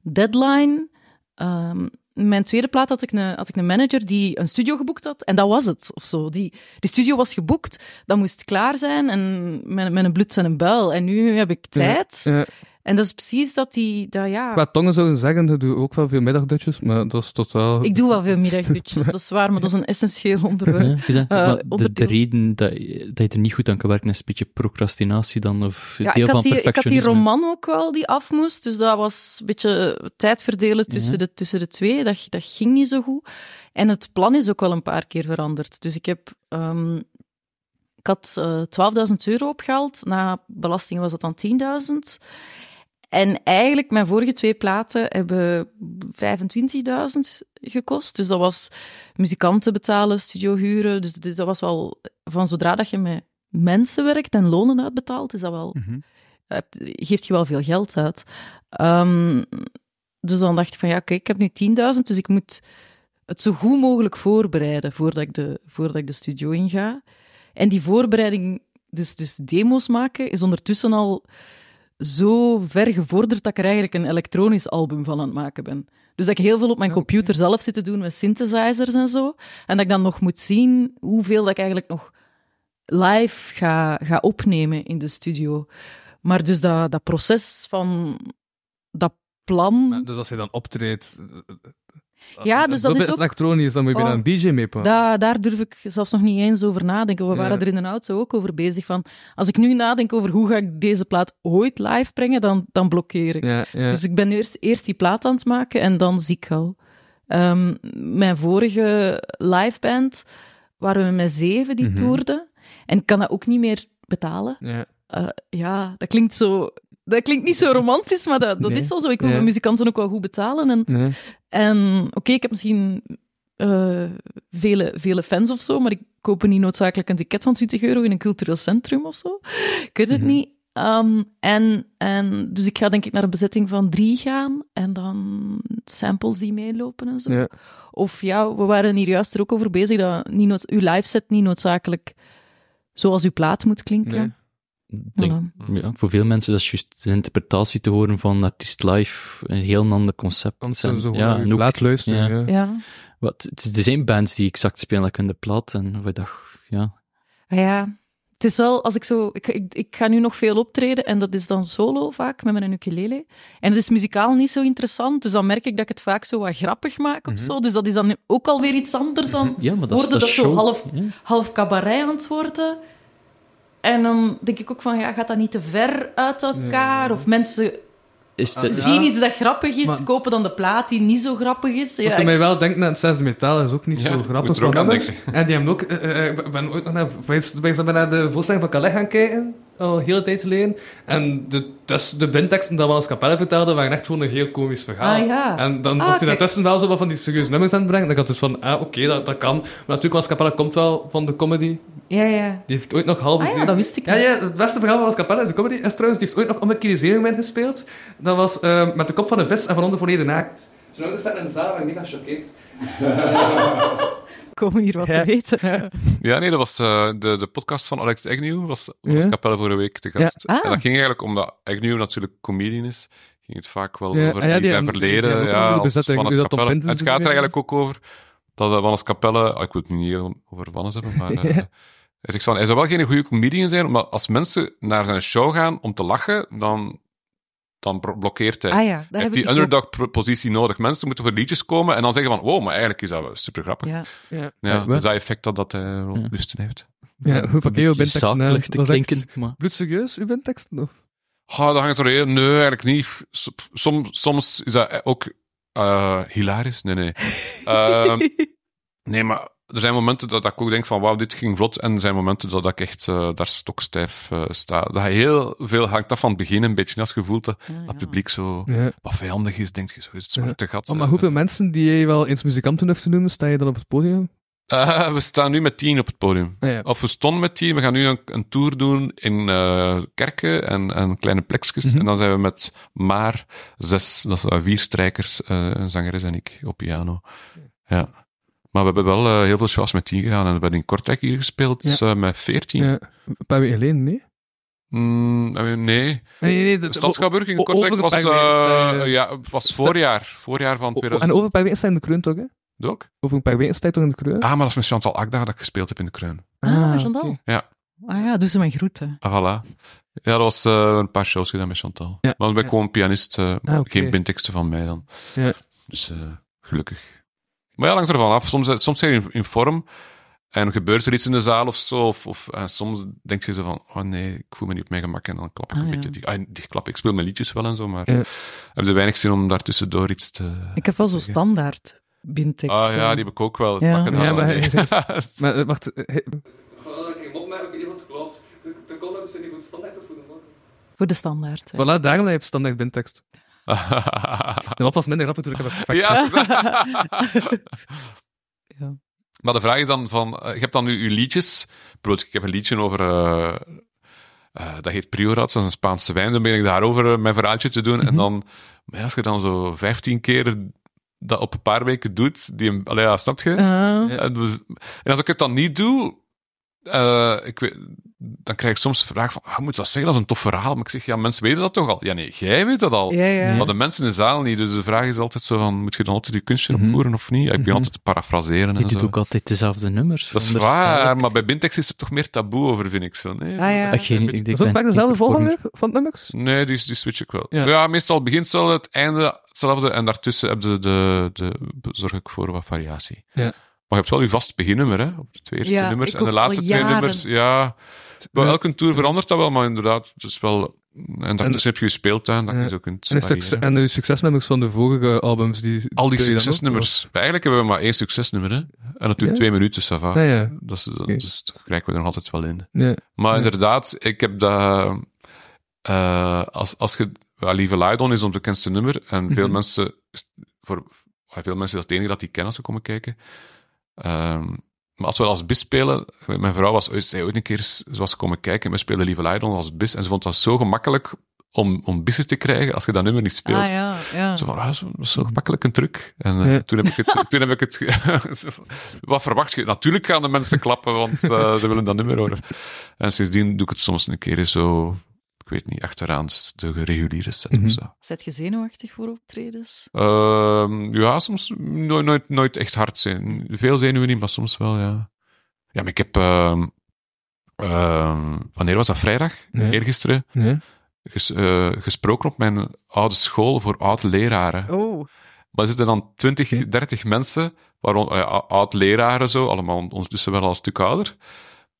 Speaker 4: deadline. Ehm, mijn tweede plaat had ik, een, had ik een manager die een studio geboekt had. En dat was het, of zo. Die, die studio was geboekt, dat moest klaar zijn. En met, met een bluts en een buil. En nu heb ik tijd.
Speaker 3: Ja.
Speaker 4: En dat is precies dat die... Dat, ja.
Speaker 3: Qua tongen zouden zeggen, dat doe ik ook wel veel middagdutjes, maar dat is totaal...
Speaker 4: Ik doe wel veel middagdutjes, dat is waar. Maar dat is een essentieel onderwerp.
Speaker 6: Ja, je zegt,
Speaker 4: Eh,
Speaker 6: maar de, de
Speaker 4: onderdeel-
Speaker 6: reden dat je, dat je er niet goed aan kan werken is een beetje procrastinatie dan, of
Speaker 4: Ja,
Speaker 6: deel
Speaker 4: ik, had
Speaker 6: van
Speaker 4: die, ik had die
Speaker 6: perfectionisme.
Speaker 4: roman ook wel die af moest. Dus dat was een beetje tijd verdelen tussen,
Speaker 6: Ja.
Speaker 4: de, tussen de twee. Dat, dat ging niet zo goed. En het plan is ook wel een paar keer veranderd. Dus ik heb. ehm, ik had eh 12.000 euro opgehaald. Na belasting was dat dan 10.000. En eigenlijk, mijn vorige twee platen hebben 25.000 gekost. Dus dat was muzikanten betalen, studio huren. Dus dit- dat was wel van zodra dat je met mensen werkt en lonen uitbetaalt, is dat wel,
Speaker 6: Mhm.
Speaker 4: hebt- Eh, geeft je wel veel geld uit. Ehm, dus dan dacht ik van ja, oké, ik heb nu 10.000, dus ik moet het zo goed mogelijk voorbereiden voordat ik de, voordat ik de studio inga. En die voorbereiding, dus, dus demo's maken, is ondertussen al zo ver gevorderd dat ik er eigenlijk een elektronisch album van aan het maken ben. Dus dat ik heel veel op mijn computer zelf zit te doen met synthesizers en zo. En dat ik dan nog moet zien hoeveel dat ik eigenlijk nog live ga, ga opnemen in de studio. Maar dus dat, dat proces van dat plan.
Speaker 3: Maar Dus als je dan optreedt... eh, eh,
Speaker 4: Ja,
Speaker 3: eh,
Speaker 4: dus dat is
Speaker 3: bit
Speaker 4: ook-
Speaker 3: elektronisch, dan moet je
Speaker 4: Oh.
Speaker 3: bijna een DJ meepakken.
Speaker 4: Daar, daar durf ik zelfs nog niet eens over nadenken. We
Speaker 3: Ja.
Speaker 4: waren er in de auto ook over bezig. Van, als ik nu nadenk over hoe ga ik deze plaat ooit live brengen, dan, dan blokkeer ik.
Speaker 3: Ja, ja.
Speaker 4: Dus ik ben eerst, eerst die plaat aan het maken en dan zie ik al. Ehm, mijn vorige liveband waren we met zeven die
Speaker 3: Mhm.
Speaker 4: toerden. En ik kan dat ook niet meer betalen.
Speaker 3: ja.
Speaker 4: Eh, ja, dat klinkt zo... Dat klinkt niet zo romantisch, maar dat, dat
Speaker 3: Nee.
Speaker 4: is wel zo. Ik wil
Speaker 3: Ja.
Speaker 4: mijn muzikanten ook wel goed betalen. En
Speaker 3: Nee.
Speaker 4: en oké, ik heb misschien eh, vele, vele fans of zo, maar ik koop er niet noodzakelijk een ticket van 20 euro in een cultureel centrum of zo. Ik weet het
Speaker 3: Mhm.
Speaker 4: niet. Ehm, en, en, dus ik ga denk ik naar een bezetting van drie gaan en dan samples die meelopen en zo.
Speaker 3: Ja.
Speaker 4: Of ja, we waren hier juist er ook over bezig dat niet noods- uw live set niet noodzakelijk zoals uw plaat moet
Speaker 3: Nee.
Speaker 4: klinken.
Speaker 6: Ik denk-
Speaker 4: Voilà.
Speaker 6: ja, voor veel mensen dat is juist de interpretatie te horen van artiest live, een heel ander concept.
Speaker 3: Want
Speaker 6: En-
Speaker 3: ze zo
Speaker 6: ja, en ook-
Speaker 3: laat luisteren. Ja.
Speaker 4: Ja.
Speaker 6: wat, het is de zijn bands die exact spelen like in de plaat. En we dachten, ja,
Speaker 4: Maar Ja, het is wel als ik zo. Ik, ik, ik ga nu nog veel optreden en dat is dan solo vaak met mijn ukulele. En het is muzikaal niet zo interessant, dus dan merk ik dat ik het vaak zo wat grappig maak of zo. Dus dat is dan ook alweer iets anders dan
Speaker 6: Mhm. ja maar dat is
Speaker 4: worden dat
Speaker 6: is
Speaker 4: zo
Speaker 6: show.
Speaker 4: half,
Speaker 6: Ja.
Speaker 4: half cabaret aan het worden. En dan denk ik ook van ja, gaat dat niet te ver uit elkaar? Of mensen
Speaker 6: Is de,
Speaker 4: zien iets dat grappig is,
Speaker 3: Maar-
Speaker 4: kopen dan de plaat die niet zo grappig is.
Speaker 3: Wat
Speaker 4: Ja,
Speaker 3: ik
Speaker 4: ik-
Speaker 3: mij wel denkt naar het zesde metaal is ook niet
Speaker 5: Ja,
Speaker 3: zo
Speaker 5: moet
Speaker 3: grappig.
Speaker 5: er ook
Speaker 3: van
Speaker 5: aan
Speaker 3: nummers.
Speaker 5: denken.
Speaker 3: En die hebben ook... eh, eh, ik ben ooit nog naar... Wij zijn bij naar de voorstelling van Calais gaan kijken. al een hele tijd geleden. En de, dus de binteksten dat Wallace Capelle vertelde, waren echt gewoon een heel komisch verhaal.
Speaker 4: Ah, ja.
Speaker 3: En dan
Speaker 4: Ah,
Speaker 3: was hij
Speaker 4: kijk.
Speaker 3: daartussen wel zo wat van die serieuze nummers aan het brengen. En ik had dus van, ah, oké, dat, dat kan. Maar natuurlijk, Wallace Capelle komt wel van de comedy.
Speaker 4: Ja, ja.
Speaker 3: Die heeft ooit nog halve
Speaker 4: Ah ja, dat wist ik
Speaker 3: ja,
Speaker 4: niet.
Speaker 3: ja, het beste verhaal van Las Capelle, de comedy, is trouwens, die heeft ooit nog om een keer Zeemermin gespeeld. Dat was eh, met de kop van een vis en van onder volledig naakt. Zijn ouders zaten in de zaal en die was gechoqueerd.
Speaker 4: Komen hier wat te weten.
Speaker 5: Ja, nee, dat was eh, de, de podcast van Alex Agnew, was ons
Speaker 3: Ja.
Speaker 5: kapelle vorige week te gast.
Speaker 4: Ja, ah.
Speaker 5: En dat ging eigenlijk, omdat Agnew natuurlijk comedian is, ging het vaak wel
Speaker 3: Ja,
Speaker 5: over
Speaker 3: ah ja, die
Speaker 5: die zijn
Speaker 3: hebben- die
Speaker 5: verleden.
Speaker 3: hebben ook
Speaker 5: Ja,
Speaker 3: onder de
Speaker 5: als
Speaker 3: bezetting,
Speaker 5: Wannes
Speaker 3: dus dat Tom
Speaker 5: Capelle. En
Speaker 3: Pintens
Speaker 5: het gaat er
Speaker 3: erbij
Speaker 5: eigenlijk ook over dat eh, Wannes Capelle, ah, ik wil het nu niet heel over Wannes hebben, maar... eh, hij zegt van, hij zou wel geen goede comedian zijn, omdat als mensen naar zijn show gaan om te lachen, dan, dan bro- blokkeert hij.
Speaker 4: Ah ja, daar
Speaker 5: Hij
Speaker 4: heb
Speaker 5: heeft
Speaker 4: ik
Speaker 5: die
Speaker 4: ook.
Speaker 5: underdog-positie nodig. Mensen moeten voor liedjes komen en dan zeggen van, wow, maar eigenlijk is dat wel super grappig.
Speaker 4: Ja.
Speaker 5: Ja,
Speaker 6: Ja,
Speaker 5: dus dat effect dat, dat hij rond
Speaker 6: Ja.
Speaker 5: Busten heeft.
Speaker 3: Ja, hoe pak je uw
Speaker 6: Beetje
Speaker 3: binteksten
Speaker 6: zakelijk te klinken, maar...
Speaker 3: Bloedserieus, uw binteksten? Of?
Speaker 5: Oh, dat hangt er heel... Nee, eigenlijk niet. Soms, soms is dat ook eh, hilarisch. Nee, nee. Ehm, nee, maar er zijn momenten dat ik ook denk van wauw, dit ging vlot. En er zijn momenten dat ik echt eh, daar stokstijf eh, sta. Dat heel veel hangt af van het begin een beetje. Als je voelt dat
Speaker 4: Ja,
Speaker 5: het
Speaker 4: ja.
Speaker 5: publiek zo
Speaker 3: Ja.
Speaker 5: wat vijandig is, denk je zo, is het
Speaker 3: Ja.
Speaker 5: zwarte gat.
Speaker 3: Oh, maar hoeveel mensen die jij wel eens muzikanten heeft te noemen, sta je dan op het podium?
Speaker 5: Eh, we staan nu met tien op het podium.
Speaker 3: Ah, ja.
Speaker 5: Of we stonden met tien. We gaan nu een, een tour doen in eh, kerken en, en kleine plekjes. En dan zijn we met maar zes, dat zijn vier strijkers, eh, een zangeres en ik op piano. Ja. Maar we hebben wel eh, heel veel shows met tien gedaan. En we hebben in Kortrijk hier gespeeld
Speaker 3: Ja.
Speaker 5: eh, met veertien.
Speaker 3: Ja. Een paar weken geleden, nee?
Speaker 5: Mm, eh, nee,
Speaker 3: Nee, nee, dat-
Speaker 5: Stadsgaburg in
Speaker 3: o-
Speaker 5: Kortrijk
Speaker 3: over
Speaker 5: was,
Speaker 3: een paar weken
Speaker 5: eh,
Speaker 3: sta je-
Speaker 5: ja, was
Speaker 3: sta-
Speaker 5: voorjaar. Voorjaar van
Speaker 3: o- o- En
Speaker 5: 2000.
Speaker 3: over een paar weken sta je in de kreun toch, hè?
Speaker 5: Ook?
Speaker 3: Over een paar weken sta je toch in de kreun?
Speaker 5: Ah, maar dat is met Chantal Akda dat ik gespeeld heb in de Kruin.
Speaker 4: Ah, Chantal.
Speaker 3: oké.
Speaker 4: Ah ja, doe ze mijn groeten.
Speaker 5: Ah, voilà. Ja, dat was eh, een paar shows gedaan met Chantal.
Speaker 3: Ja.
Speaker 5: Maar ik ben
Speaker 3: Ja.
Speaker 5: gewoon pianist. eh,
Speaker 3: Ah, oké.
Speaker 5: Geen binteksten van mij dan.
Speaker 3: Ja.
Speaker 5: Dus eh, gelukkig. Maar ja, langs ervan af. Soms, eh, soms zijn je in, in vorm en gebeurt er iets in de zaal of zo. Of, of, eh, soms denk je zo van, oh nee, ik voel me niet op mijn gemak. En dan klap ik
Speaker 4: Ah,
Speaker 5: een
Speaker 4: ja.
Speaker 5: beetje. Die, ah, die klap, ik speel mijn liedjes wel en zo, maar
Speaker 3: Ja.
Speaker 5: ik heb er weinig zin om daartussendoor iets te...
Speaker 4: Ik heb wel zo
Speaker 5: Zeker.
Speaker 4: standaard bintekst.
Speaker 5: Ah ja,
Speaker 4: eh.
Speaker 5: die heb ik ook wel.
Speaker 4: Ja.
Speaker 5: Ja,
Speaker 3: Ja, maar-
Speaker 5: maar...
Speaker 3: Maar eh, wacht. eh, eh,
Speaker 4: Voor de standaard. eh.
Speaker 3: Voilà, daarom heb je op standaard bintekst. De map was minder grappig toen ik heb het
Speaker 5: Ah. ja,
Speaker 4: Ja.
Speaker 5: Maar de vraag is dan van, eh, je hebt dan nu je liedjes. Bijvoorbeeld, ik heb een liedje over, eh, eh, dat heet Priorat, dat is een Spaanse wijn. Dan ben ik daarover eh, mijn verhaaltje te doen. En dan, maar ja, als je dan zo vijftien keer dat op een paar weken doet, die, allee, ja, snap je?
Speaker 4: Ah.
Speaker 5: En, dus- en als ik het dan niet doe, eh, ik weet, dan krijg ik soms de vraag van, ah, moet dat zeggen, dat is een tof verhaal. Maar ik zeg, ja, mensen weten dat toch al? Ja, nee, jij weet dat al.
Speaker 4: Ja,
Speaker 3: Hm.
Speaker 4: ja.
Speaker 5: Maar de mensen in de zaal niet. Dus de vraag is altijd zo van, moet je dan altijd je kunstje
Speaker 3: Hm.
Speaker 6: Mhm.
Speaker 5: opvoeren of niet? Ja, Ik ben
Speaker 6: Mhm.
Speaker 5: altijd te parafraseren
Speaker 6: Je
Speaker 5: en
Speaker 6: doet
Speaker 5: zo.
Speaker 6: ook altijd dezelfde nummers.
Speaker 5: Dat is
Speaker 6: veronderstel
Speaker 5: waar,
Speaker 6: ik.
Speaker 5: maar bij Bintex is er toch meer taboe over, vind ik zo. Nee,
Speaker 4: Ah, ja.
Speaker 6: Ah, geen- ik denk-
Speaker 3: Dat is ook
Speaker 6: ben
Speaker 3: vaak
Speaker 6: niet
Speaker 3: dezelfde
Speaker 6: voor-
Speaker 3: volgorde van het nummers.
Speaker 5: nee die, die switch ik wel.
Speaker 3: Ja.
Speaker 5: Ja, meestal begint hetzelfde, het einde hetzelfde en daartussen heb je de, de, zorg ik voor wat variatie.
Speaker 3: Ja.
Speaker 5: Maar je hebt wel je vast beginnummer, hè? Op de twee eerste
Speaker 4: Ja,
Speaker 5: nummers.
Speaker 4: ik
Speaker 5: En de
Speaker 4: ook al
Speaker 5: laatste twee
Speaker 4: jaren.
Speaker 5: nummers, ja. Bij
Speaker 3: Ja.
Speaker 5: elke tour verandert dat wel, maar inderdaad, het is wel. En daartussen heb je je speeltuin, dat
Speaker 3: Ja.
Speaker 5: je zo kunt.
Speaker 3: En de, succes-
Speaker 5: variëren.
Speaker 3: en de succesnummers van de vorige albums. Die,
Speaker 5: Al
Speaker 3: doe
Speaker 5: die
Speaker 3: je dan ook?
Speaker 5: succesnummers. Eigenlijk hebben we maar één succesnummer, hè? En dat doet
Speaker 3: Ja.
Speaker 5: twee minuten, Sava.
Speaker 3: Ja, ja.
Speaker 5: Dat, is, dat is- dat krijgen we er nog altijd wel in.
Speaker 3: ja.
Speaker 5: Maar
Speaker 3: Ja.
Speaker 5: inderdaad, ik heb dat... eh, als, als je... ja, Lieve Laidon is ons bekendste nummer. En veel
Speaker 3: Mhm.
Speaker 5: mensen... is- Voor, ja, veel mensen is dat het enige dat die kennen als ze komen kijken. Ehm, maar als we als bis spelen... Mijn vrouw was ooit, zei ooit een keer, zoals ze komen kijken, we spelen Lieve Laidon als bis. En ze vond dat zo gemakkelijk om, om bissen te krijgen als je dat nummer niet speelt.
Speaker 4: Ah ja, ja.
Speaker 5: Zo van, ah, zo, zo gemakkelijk een truc. En eh,
Speaker 3: Mhm. Ja.
Speaker 5: toen heb ik het... Toen heb ik het ge- zo van, wat verwacht je? Natuurlijk gaan de mensen klappen, want eh, ze willen dat nummer horen. En sindsdien doe ik het soms een keer zo... Ik weet niet, achteraan de reguliere set
Speaker 3: Mhm.
Speaker 5: of zo.
Speaker 4: Zet je zenuwachtig voor optredens?
Speaker 5: Ehm, ja, soms nooit, nooit, nooit echt hard zijn. Veel zenuwen niet, maar soms wel, ja. Ja, maar ik heb... ehm, ehm, wanneer was dat? Vrijdag?
Speaker 3: Ja.
Speaker 5: Eergisteren?
Speaker 3: Ja.
Speaker 5: ges- eh, gesproken op mijn oude school voor oud-leraren.
Speaker 4: Oh,
Speaker 5: Maar er zitten dan 20, 30 mensen, waaronder eh, oud-leraren zo, allemaal ondertussen wel al een stuk ouder.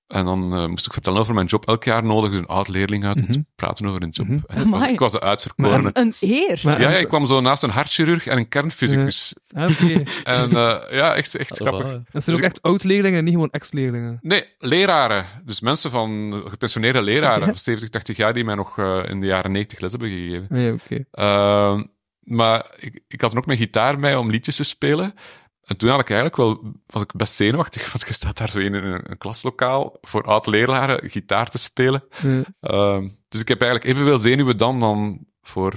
Speaker 5: En dan eh, moest ik vertellen over mijn job. Elk jaar nodig is een oud-leerling uit om te praten over een job.
Speaker 6: Mhm.
Speaker 5: En ik, was,
Speaker 4: Amai.
Speaker 5: ik was de uitverkorene.
Speaker 4: Wat een eer.
Speaker 3: Maar-
Speaker 5: Ja, ja, ik kwam zo naast een hartchirurg en een kernfysicus.
Speaker 3: Ah, Oké.
Speaker 5: En eh, ja, echt, echt
Speaker 6: Ah,
Speaker 5: grappig.
Speaker 6: voilà.
Speaker 3: Dat zijn ook
Speaker 5: Dus
Speaker 3: echt oud-leerlingen en niet gewoon ex-leerlingen.
Speaker 5: Nee, leraren. Dus mensen van eh, gepensioneerde leraren van 70, 80 jaar die mij nog eh, in de jaren 90 les hebben gegeven.
Speaker 3: Nee, oké.
Speaker 5: Ehm, maar ik, ik had dan ook mijn gitaar bij om liedjes te spelen. En toen had ik eigenlijk wel, was ik best zenuwachtig, want je staat daar zo in een, een klaslokaal voor oud-leraren gitaar te spelen.
Speaker 3: Ja.
Speaker 5: Ehm, dus ik heb eigenlijk evenveel zenuwen dan, dan voor,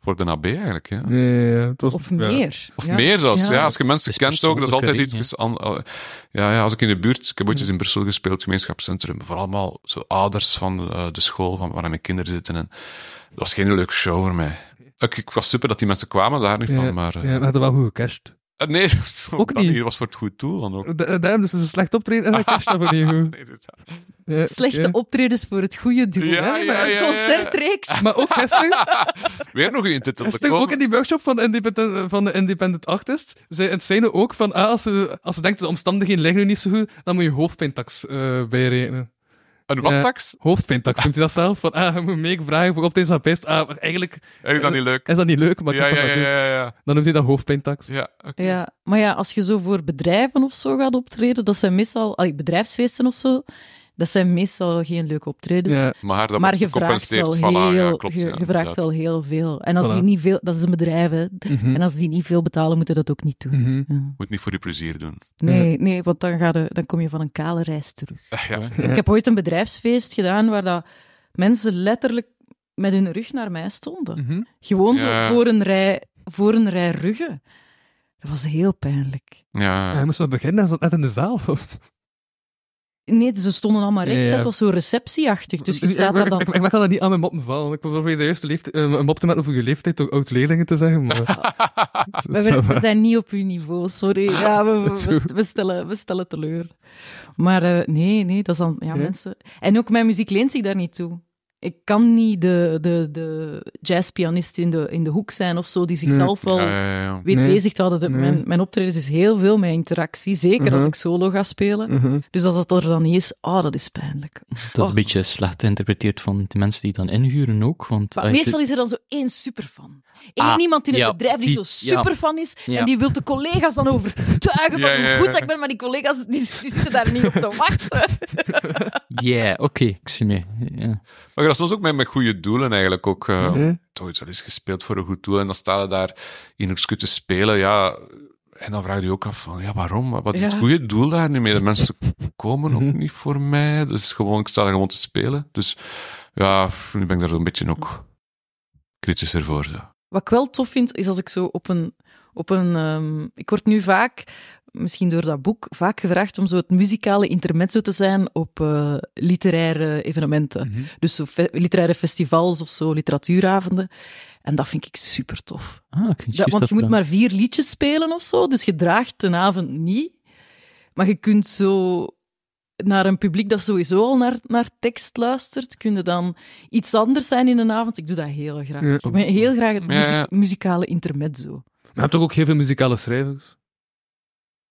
Speaker 5: voor de NAB eigenlijk. Ja.
Speaker 3: Nee, ja, het was...
Speaker 4: Of
Speaker 3: ja.
Speaker 4: meer.
Speaker 5: Of
Speaker 4: Ja.
Speaker 5: meer zelfs,
Speaker 4: Ja.
Speaker 5: ja. Als je mensen
Speaker 6: Het is
Speaker 5: kent ook, dat is altijd
Speaker 6: persoonlijker,
Speaker 5: iets... an- Ja, ja, als ik in de buurt... Ik heb ooit eens in Brussel gespeeld, gemeenschapscentrum. Voor allemaal zo ouders van eh, de school, van, waar mijn kinderen zitten. En dat was geen leuke show voor mij. Ik, ik was super dat die mensen kwamen, daar niet
Speaker 3: Ja,
Speaker 5: van, maar... eh,
Speaker 3: Ja, we hadden wel goed gecashed.
Speaker 5: eh, nee,
Speaker 3: Ook
Speaker 5: ook
Speaker 3: niet.
Speaker 5: niet. Hier was voor het goed doel dan ook.
Speaker 3: Da- Daarom, dus het is een slecht optreden en dan cashed dat we niet goed.
Speaker 5: Nee, dit-
Speaker 3: Ja,
Speaker 4: Slechte
Speaker 3: oké.
Speaker 4: optredens voor het goede doel.
Speaker 5: Ja,
Speaker 4: hè?
Speaker 5: ja,
Speaker 4: Maar een
Speaker 5: ja, ja.
Speaker 4: concertreeks.
Speaker 3: Maar ook gisteren,
Speaker 5: Weer nog een titel.
Speaker 3: gisteren ook in die workshop van, independent, van de Independent Artist, zei het zijn ook van, ah, als, je, als je denkt de omstandigheden liggen nu niet zo goed, dan moet je hoofdpijntax eh, bijrekenen.
Speaker 5: Een
Speaker 3: Ja.
Speaker 5: wattax?
Speaker 3: Hoofdpijntax, noemt hij dat zelf? Van, ah, je moet meevragen voor op deze apijst. Ah, maar eigenlijk
Speaker 5: Heb ik dat niet leuk?
Speaker 3: is dat niet leuk, maar ik
Speaker 5: Ja,
Speaker 3: heb
Speaker 5: ja,
Speaker 3: dat
Speaker 5: ja,
Speaker 3: leuk.
Speaker 5: ja. ja.
Speaker 3: Dan noemt hij dat hoofdpijntax.
Speaker 5: ja oké.
Speaker 4: Ja, maar ja, als je zo voor bedrijven of zo gaat optreden, dat zijn meestal, allee, bedrijfsfeesten of zo, dat zijn meestal geen leuke optredens.
Speaker 3: Ja.
Speaker 5: Maar dat
Speaker 4: maar
Speaker 5: wordt
Speaker 4: je vraagt
Speaker 5: gecompenseerd.
Speaker 4: wel
Speaker 5: Voilà,
Speaker 4: heel,
Speaker 5: ja, klopt,
Speaker 4: je,
Speaker 5: ja,
Speaker 4: je vraagt
Speaker 5: inderdaad.
Speaker 4: wel heel veel. En als
Speaker 3: Voilà.
Speaker 4: die niet veel, dat is een bedrijf, hè.
Speaker 3: Mhm.
Speaker 4: En als die niet veel betalen, moeten dat ook niet doen.
Speaker 3: Mhm.
Speaker 4: Ja.
Speaker 5: Moet niet voor je plezier doen.
Speaker 4: Nee, nee, want dan, ga je, dan kom je van een kale reis terug.
Speaker 5: Ja.
Speaker 4: Ik heb ooit een bedrijfsfeest gedaan waar dat mensen letterlijk met hun rug naar mij stonden.
Speaker 3: Mhm.
Speaker 4: Gewoon zo
Speaker 5: Ja.
Speaker 4: voor een, rij, voor een rij ruggen. Dat was heel pijnlijk.
Speaker 5: Ja.
Speaker 3: Hij moest nog beginnen, hij zat net in de zaal.
Speaker 4: Nee, ze stonden allemaal recht.
Speaker 3: Ja, ja.
Speaker 4: Dat was zo receptieachtig. Dus je
Speaker 3: Ik-
Speaker 4: staat
Speaker 3: ik,
Speaker 4: daar
Speaker 3: ik-
Speaker 4: dan...
Speaker 3: Ik, ik mag dat niet aan mijn moppen vallen. Ik probeer de juiste leeftijd, eh, een mop te maken over je leeftijd door oud-leerlingen te zeggen. Maar...
Speaker 4: We,
Speaker 3: Zo, Ah,
Speaker 4: we
Speaker 3: maar-
Speaker 4: zijn niet op uw niveau, sorry. Ja, we, we- we, we stellen, we stellen teleur. Maar eh, nee, nee, dat is dan... Ja,
Speaker 3: Ja.
Speaker 4: mensen... En ook mijn muziek leent zich daar niet toe. Ik kan niet de, de, de jazzpianist in de, in de hoek zijn of zo, die zichzelf wel
Speaker 5: Ja, ja, ja.
Speaker 4: weet
Speaker 3: Nee.
Speaker 4: bezig te houden. De-
Speaker 3: Nee.
Speaker 4: Mijn, mijn optredens is heel veel mijn interactie, zeker als
Speaker 3: Mhm.
Speaker 4: ik solo ga spelen.
Speaker 3: Mhm.
Speaker 4: Dus als dat er dan niet is, oh, dat is pijnlijk.
Speaker 6: Dat
Speaker 4: Oh.
Speaker 6: is een beetje slecht geïnterpreteerd van de mensen die het dan inhuren ook. Want
Speaker 4: Maar
Speaker 6: als je-
Speaker 4: meestal is er dan zo één superfan. Eén
Speaker 6: Ah,
Speaker 4: iemand in het
Speaker 6: ja,
Speaker 4: bedrijf die,
Speaker 6: die-
Speaker 4: zo
Speaker 6: ja.
Speaker 4: superfan is
Speaker 6: Ja.
Speaker 4: en die wil de collega's dan overtuigen van
Speaker 5: Ja, ja,
Speaker 4: hoe
Speaker 5: ja.
Speaker 4: goed dat ik ben, maar die collega's die, die zitten daar niet op te wachten.
Speaker 6: Ja, oké, ik zie mee. Ja.
Speaker 5: Maar dat is soms ook met, met goede doelen eigenlijk ook. eh
Speaker 3: Ja.
Speaker 5: Toch iets wel eens gespeeld voor een goed doel. En dan sta je daar in een te spelen. Ja. En dan vraag je je ook af van, ja, waarom? Wat is het
Speaker 4: Ja.
Speaker 5: goede doel daar nu mee? De mensen komen ook
Speaker 3: Mhm.
Speaker 5: niet voor mij. Dus gewoon, ik sta daar gewoon te spelen. Dus ja, nu ben ik daar een beetje ook kritischer voor. Zo.
Speaker 4: Wat ik wel tof vind, is als ik zo op een... Op een ehm, ik word nu vaak, misschien door dat boek, vaak gevraagd om zo het muzikale intermezzo te zijn op eh, literaire evenementen.
Speaker 5: Mhm.
Speaker 4: Dus zo fe- literaire festivals of zo, literatuuravonden. En dat vind ik super tof.
Speaker 6: Ah, oké.
Speaker 4: Ja,
Speaker 6: juist
Speaker 4: want je moet
Speaker 6: dat-
Speaker 4: maar vier liedjes spelen of zo, dus je draagt een avond niet. Maar je kunt zo naar een publiek dat sowieso al naar, naar tekst luistert, kun je dan iets anders zijn in een avond. Ik doe dat heel graag.
Speaker 3: Ja.
Speaker 4: Ik ben heel graag het muziek-
Speaker 5: Ja, ja.
Speaker 4: muzikale intermezzo.
Speaker 3: Maar je hebt toch ook heel veel muzikale schrijvers?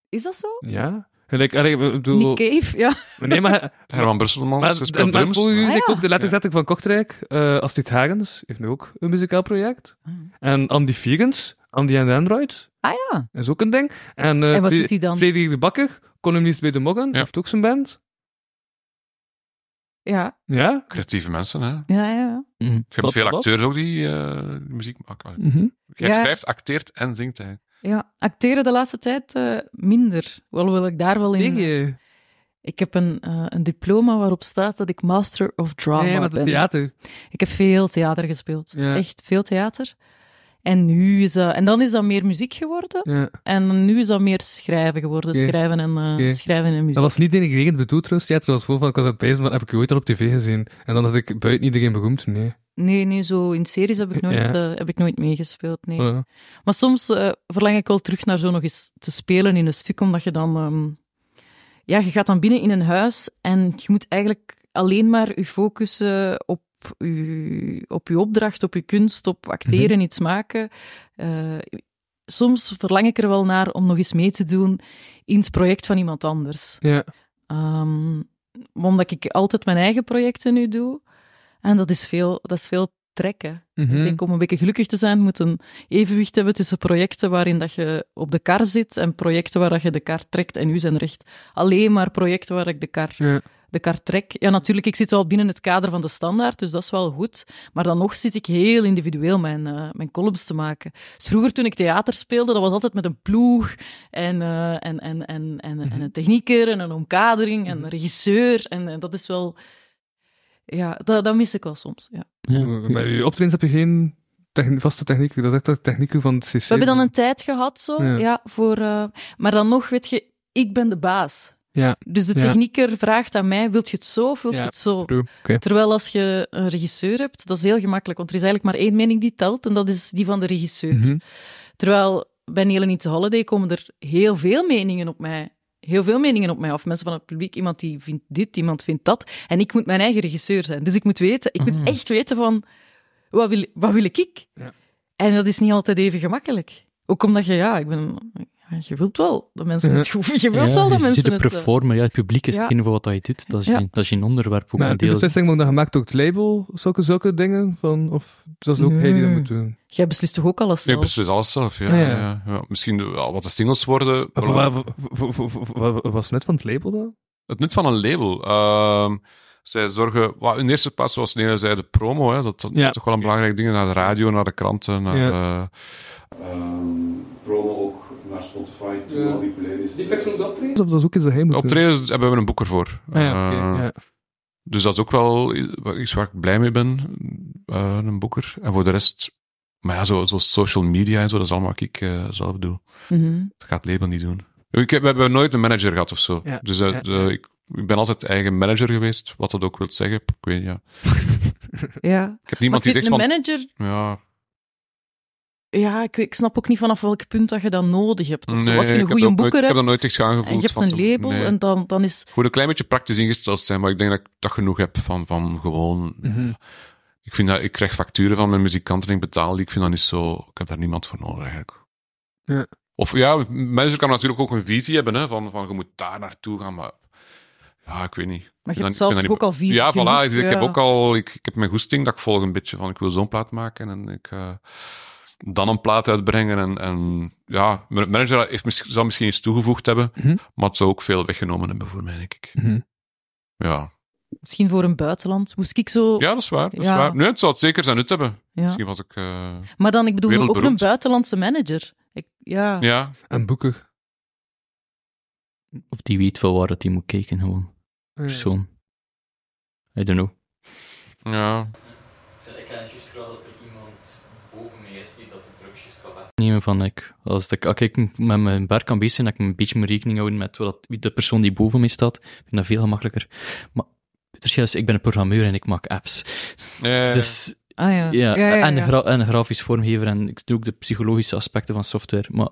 Speaker 4: Is dat zo?
Speaker 3: Ja. Gelijk, allee, ik bedoel-
Speaker 4: Nick Cave, ja.
Speaker 3: Nee, maar...
Speaker 5: Herman Brusselmans
Speaker 3: Maar,
Speaker 5: speelt
Speaker 3: maar
Speaker 5: drums.
Speaker 3: volgens u
Speaker 4: Ah,
Speaker 3: zeg ik
Speaker 4: ja.
Speaker 3: ook de letterzetting van Kortrijk. eh Astrid Hagens heeft nu ook een muzikaal project.
Speaker 4: Ah.
Speaker 3: En Andy Figens, Andy en Android,
Speaker 4: Ah ja.
Speaker 3: is ook een ding. En, eh,
Speaker 4: En wat
Speaker 3: Fre-
Speaker 4: doet hij dan?
Speaker 3: Frederik de Bakker, columnist bij De Moggen,
Speaker 5: Ja.
Speaker 3: heeft ook zijn band.
Speaker 4: Ja,
Speaker 3: Ja.
Speaker 5: Creatieve mensen, hè.
Speaker 4: ja, ja.
Speaker 6: Mhm.
Speaker 5: Je
Speaker 3: Klopt,
Speaker 5: hebt veel
Speaker 3: klopt.
Speaker 5: acteurs ook die eh, die muziek maken.
Speaker 3: Mhm.
Speaker 5: Jij
Speaker 4: Ja.
Speaker 5: schrijft, acteert en zingt eigenlijk.
Speaker 4: ja. Acteren de laatste tijd eh, minder. Wel wil ik daar wel in...
Speaker 3: Tegen je.
Speaker 4: Ik heb een, eh, een diploma waarop staat dat ik master of drama
Speaker 3: Nee, met
Speaker 4: ben.
Speaker 3: het theater.
Speaker 4: Ik heb veel theater gespeeld.
Speaker 3: Ja.
Speaker 4: Echt veel theater. En nu is dat... En dan is dat meer muziek geworden.
Speaker 3: Ja.
Speaker 4: En nu is dat meer schrijven geworden.
Speaker 3: Oké.
Speaker 4: Schrijven, en, eh,
Speaker 3: Oké.
Speaker 4: schrijven en muziek.
Speaker 3: Dat was niet denigrerend bedoeld trouwens, ja, het was gewoon van, ik was aan het bezig, maar heb ik je ooit al op tv gezien? En dan had ik buiten iedereen beroemd, nee.
Speaker 4: Nee, nee, zo in series heb ik nooit,
Speaker 3: Ja.
Speaker 4: eh, heb ik nooit meegespeeld. Nee.
Speaker 3: Voilà.
Speaker 4: Maar soms eh, verlang ik wel terug naar zo nog eens te spelen in een stuk, omdat je dan... ehm, ja, je gaat dan binnen in een huis en je moet eigenlijk alleen maar je focussen op je, op je opdracht, op je kunst, op acteren, iets maken. Eh, soms verlang ik er wel naar om nog eens mee te doen in het project van iemand anders.
Speaker 3: Ja.
Speaker 4: Ehm, omdat ik altijd mijn eigen projecten nu doe. En dat is veel, dat is veel trekken.
Speaker 3: Mhm.
Speaker 4: Ik denk om een beetje gelukkig te zijn, moet een evenwicht hebben tussen projecten waarin dat je op de kar zit en projecten waar dat je de kar trekt. En nu zijn er echt alleen maar projecten waar ik de kar,
Speaker 3: Ja.
Speaker 4: de kar trek. Ja, natuurlijk, ik zit wel binnen het kader van de standaard, dus dat is wel goed. Maar dan nog zit ik heel individueel mijn, eh, mijn columns te maken. Dus vroeger toen ik theater speelde, dat was altijd met een ploeg en, eh, en, en, en, en, en een technieker en een omkadering en een regisseur. En, en dat is wel... Ja, dat, dat mis ik wel soms, ja.
Speaker 6: Ja.
Speaker 3: Bij je optredens heb je geen techni- vaste technieken. Dat is echt de technieken van het CC.
Speaker 4: We hebben dan een tijd gehad zo,
Speaker 3: Ja.
Speaker 4: ja, voor, eh, maar dan nog, weet je, ik ben de baas.
Speaker 3: Ja.
Speaker 4: Dus de
Speaker 3: Ja.
Speaker 4: technieker vraagt aan mij, wilt je het zo of wilt
Speaker 3: Ja.
Speaker 4: je het zo?
Speaker 3: True. Oké. Nou,
Speaker 4: Terwijl als je een regisseur hebt, dat is heel gemakkelijk, want er is eigenlijk maar één mening die telt en dat is die van de regisseur.
Speaker 3: Mhm.
Speaker 4: Terwijl bij Nelen Iets Holiday komen er heel veel meningen op mij. Heel veel meningen op mij af. Mensen van het publiek, iemand die vindt dit, iemand vindt dat. En ik moet mijn eigen regisseur zijn. Dus ik moet weten, ik moet echt weten van, wat wil, wat wil ik?
Speaker 3: Ja.
Speaker 4: En dat is niet altijd even gemakkelijk. Ook omdat je, ja, ik ben... ja, Je wilt wel dat mensen het goed... Je wilt wel dat
Speaker 6: je
Speaker 4: mensen
Speaker 6: ziet de
Speaker 4: het... eh,
Speaker 6: performer, ja, het publiek is
Speaker 4: Ja.
Speaker 6: hetgene voor wat hij doet. Dat is,
Speaker 4: Ja.
Speaker 6: je, dat is je onderwerp ook
Speaker 3: Maar die
Speaker 6: een deel.
Speaker 3: beslissing wordt dan gemaakt door het label, zulke, zulke dingen. Van, of dat is ook hij die dat
Speaker 4: Nee.
Speaker 3: moet doen.
Speaker 4: Jij beslist toch ook alles
Speaker 5: Ik
Speaker 4: zelf?
Speaker 5: beslis alles zelf, ja.
Speaker 3: Ah, ja.
Speaker 5: ja. ja, ja. Misschien wel wat de singles worden.
Speaker 3: Voor waar- voor- voor- voor- voor- voor- Was het net van het label dan?
Speaker 5: Het nut van een label. Ehm, zij zorgen, wel, in eerste plaats, zoals Nederland zei, de promo. Hè, dat dat
Speaker 3: Ja.
Speaker 5: is toch wel een belangrijk ding. Naar de radio, naar de kranten, naar...
Speaker 3: Ja.
Speaker 5: eh, promo ook naar Spotify, toe,
Speaker 3: Ja. al
Speaker 5: die playlists.
Speaker 3: Of dat is ook iets dat hij moet doen?
Speaker 5: Optredens hebben we een boeker voor.
Speaker 3: Ah, ja, oké,
Speaker 5: Eh,
Speaker 3: ja.
Speaker 5: Dus dat is ook wel i- wel iets waar ik blij mee ben, eh, een boeker. En voor de rest, maar ja, zo, zo social media en zo, dat is allemaal wat ik eh, zelf doe.
Speaker 4: Mhm.
Speaker 5: Dat gaat het label niet doen. Ik heb, we hebben nooit een manager gehad of zo.
Speaker 3: Ja,
Speaker 5: Dus eh,
Speaker 3: ja,
Speaker 5: de-
Speaker 3: ja.
Speaker 5: Ik, ik ben altijd eigen manager geweest, wat dat ook wil zeggen. Ik weet niet, ja.
Speaker 4: Ja.
Speaker 5: Ik heb
Speaker 4: Maar
Speaker 5: niemand
Speaker 4: ik
Speaker 5: die
Speaker 4: vind
Speaker 5: zegt van...
Speaker 4: een manager...
Speaker 5: Ja,
Speaker 4: Ja, ik, ik snap ook niet vanaf welk punt dat je dat nodig hebt. Of zo.
Speaker 5: nee,
Speaker 4: Als je
Speaker 5: ik
Speaker 4: een
Speaker 5: heb
Speaker 4: goede
Speaker 5: dat
Speaker 4: boeker
Speaker 5: nooit- Ik heb
Speaker 4: hebt...
Speaker 5: dat nooit echt aangevoeld.
Speaker 4: En je hebt
Speaker 5: van
Speaker 4: een
Speaker 5: te-
Speaker 4: label
Speaker 5: nee.
Speaker 4: en dan, dan is...
Speaker 5: Ik moet een klein beetje praktisch ingesteld zijn, maar ik denk dat ik dat genoeg heb van, van gewoon...
Speaker 3: Mhm.
Speaker 5: Ik, vind dat, ik krijg facturen van mijn muzikanten en ik betaal die. Ik vind dat niet zo... Ik heb daar niemand voor nodig, eigenlijk.
Speaker 3: Ja.
Speaker 5: Of ja, mensen kan natuurlijk ook een visie hebben, hè, van, van je moet daar naartoe gaan, maar... Ja, ik weet niet.
Speaker 4: Maar je
Speaker 5: Ik
Speaker 4: hebt
Speaker 5: ben
Speaker 4: zelf
Speaker 5: dan-
Speaker 4: toch ook al visie
Speaker 5: Ja,
Speaker 4: genoeg?
Speaker 5: voilà. dus Ik, ik
Speaker 4: Ja.
Speaker 5: heb ook al... Ik, ik heb mijn goesting dat ik volg een beetje van... Ik wil zo'n plaat maken en ik... eh, dan een plaat uitbrengen en... en ja, mijn manager heeft, misschien- zou misschien iets toegevoegd hebben,
Speaker 3: Mhm.
Speaker 5: maar het zou ook veel weggenomen hebben voor mij, denk ik.
Speaker 3: Mhm.
Speaker 5: Ja.
Speaker 4: Misschien voor een buitenland. Moest ik zo...
Speaker 5: ja, dat is waar. Dat is
Speaker 4: Oh. Ja.
Speaker 5: waar. Nee, het zou het zeker zijn nut hebben.
Speaker 4: Ja.
Speaker 5: Misschien was ik... eh,
Speaker 4: Maar dan, ik bedoel, ook een
Speaker 5: Wereldberoemd.
Speaker 4: buitenlandse manager. Ik, ja.
Speaker 5: ja,
Speaker 3: En boeken.
Speaker 6: Of die weet van waar dat die moet kijken, gewoon.
Speaker 3: Ja.
Speaker 6: Persoon. I don't know.
Speaker 5: ja.
Speaker 6: Ik kan juist graag dat er iemand boven mij is die dat de drugs juist gaat afnemen van ik. Als ik, als ik met mijn werk kan bezig zijn, dat ik een beetje moet rekening houden met wat dat- wie de persoon die boven mij staat. Ik vind dat veel gemakkelijker. Maar het verschil is, ik ben een programmeur en ik maak apps.
Speaker 5: Eh,
Speaker 6: Dus
Speaker 4: Ah ja.
Speaker 6: ja,
Speaker 4: ja, ja,
Speaker 6: en,
Speaker 4: ja.
Speaker 6: gra- en een grafisch vormgever en ik doe ook de psychologische aspecten van software. Maar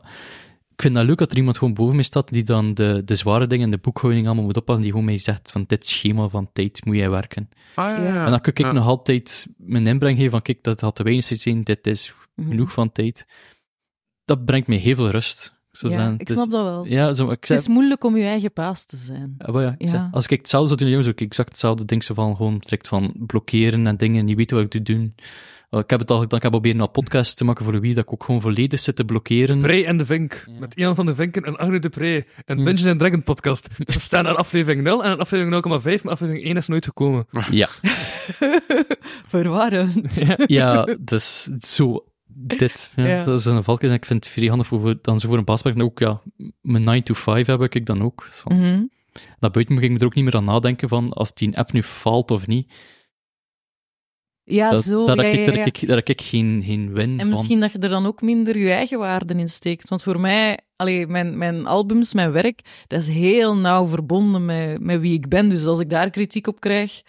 Speaker 6: ik vind dat leuk dat er iemand gewoon boven mij staat die dan de, de zware dingen, de boekhouding allemaal moet oppassen, die gewoon mij zegt van dit schema van tijd moet jij werken.
Speaker 5: ah, ja, ja.
Speaker 6: en dan kan ik
Speaker 5: Ja.
Speaker 6: nog altijd mijn inbreng geven van kijk, dat had te weinig zijn, dit is
Speaker 4: Mhm.
Speaker 6: genoeg van tijd. Dat brengt me heel veel rust. Zo
Speaker 4: Ja,
Speaker 6: zijn.
Speaker 4: ik
Speaker 6: Dus-
Speaker 4: snap dat wel.
Speaker 6: Ja, zo, ik
Speaker 4: Het
Speaker 6: zei,
Speaker 4: is moeilijk om je eigen baas te zijn.
Speaker 6: ja, wel ja, ik zei,
Speaker 4: Ja.
Speaker 6: als ik hetzelfde zou doen, jongens, ook exact hetzelfde ding. Zo van gewoon direct van blokkeren en dingen, niet weten wat ik moet doen. Eh, ik heb het al gedaan, ik heb proberen een podcast te maken voor wie dat ik ook gewoon volledig zit te blokkeren.
Speaker 3: Pre en de Vink.
Speaker 6: Ja.
Speaker 3: Met Ian van de Vinken en Arno de Pre. Een
Speaker 6: Hm.
Speaker 3: Dungeons and Dragon podcast. Dus we staan aan aflevering 0 en aan aflevering 0,5, maar aflevering 1 is nooit gekomen.
Speaker 6: Ja,
Speaker 4: Verwarrend.
Speaker 6: ja, dus zo. Dit, ja,
Speaker 4: Ja.
Speaker 6: dat is een valkuil. En ik vind het vrij handig voor- voor, dan zo voor een baasbaar. En ook, ja, mijn 9 to 5 heb ik dan ook. Dus van,
Speaker 4: Mhm.
Speaker 6: Naar buiten moet ik me er ook niet meer aan nadenken van als die app nu faalt of niet.
Speaker 4: Ja,
Speaker 6: dat,
Speaker 4: zo.
Speaker 6: daar,
Speaker 4: ja,
Speaker 6: heb ik,
Speaker 4: ja,
Speaker 6: daar
Speaker 4: ja.
Speaker 6: heb ik, daar heb ik geen, geen win
Speaker 4: En
Speaker 6: van.
Speaker 4: misschien dat je er dan ook minder je eigen waarden in steekt. Want voor mij, allee, mijn, mijn albums, mijn werk, dat is heel nauw verbonden met, met wie ik ben. Dus als ik daar kritiek op krijg,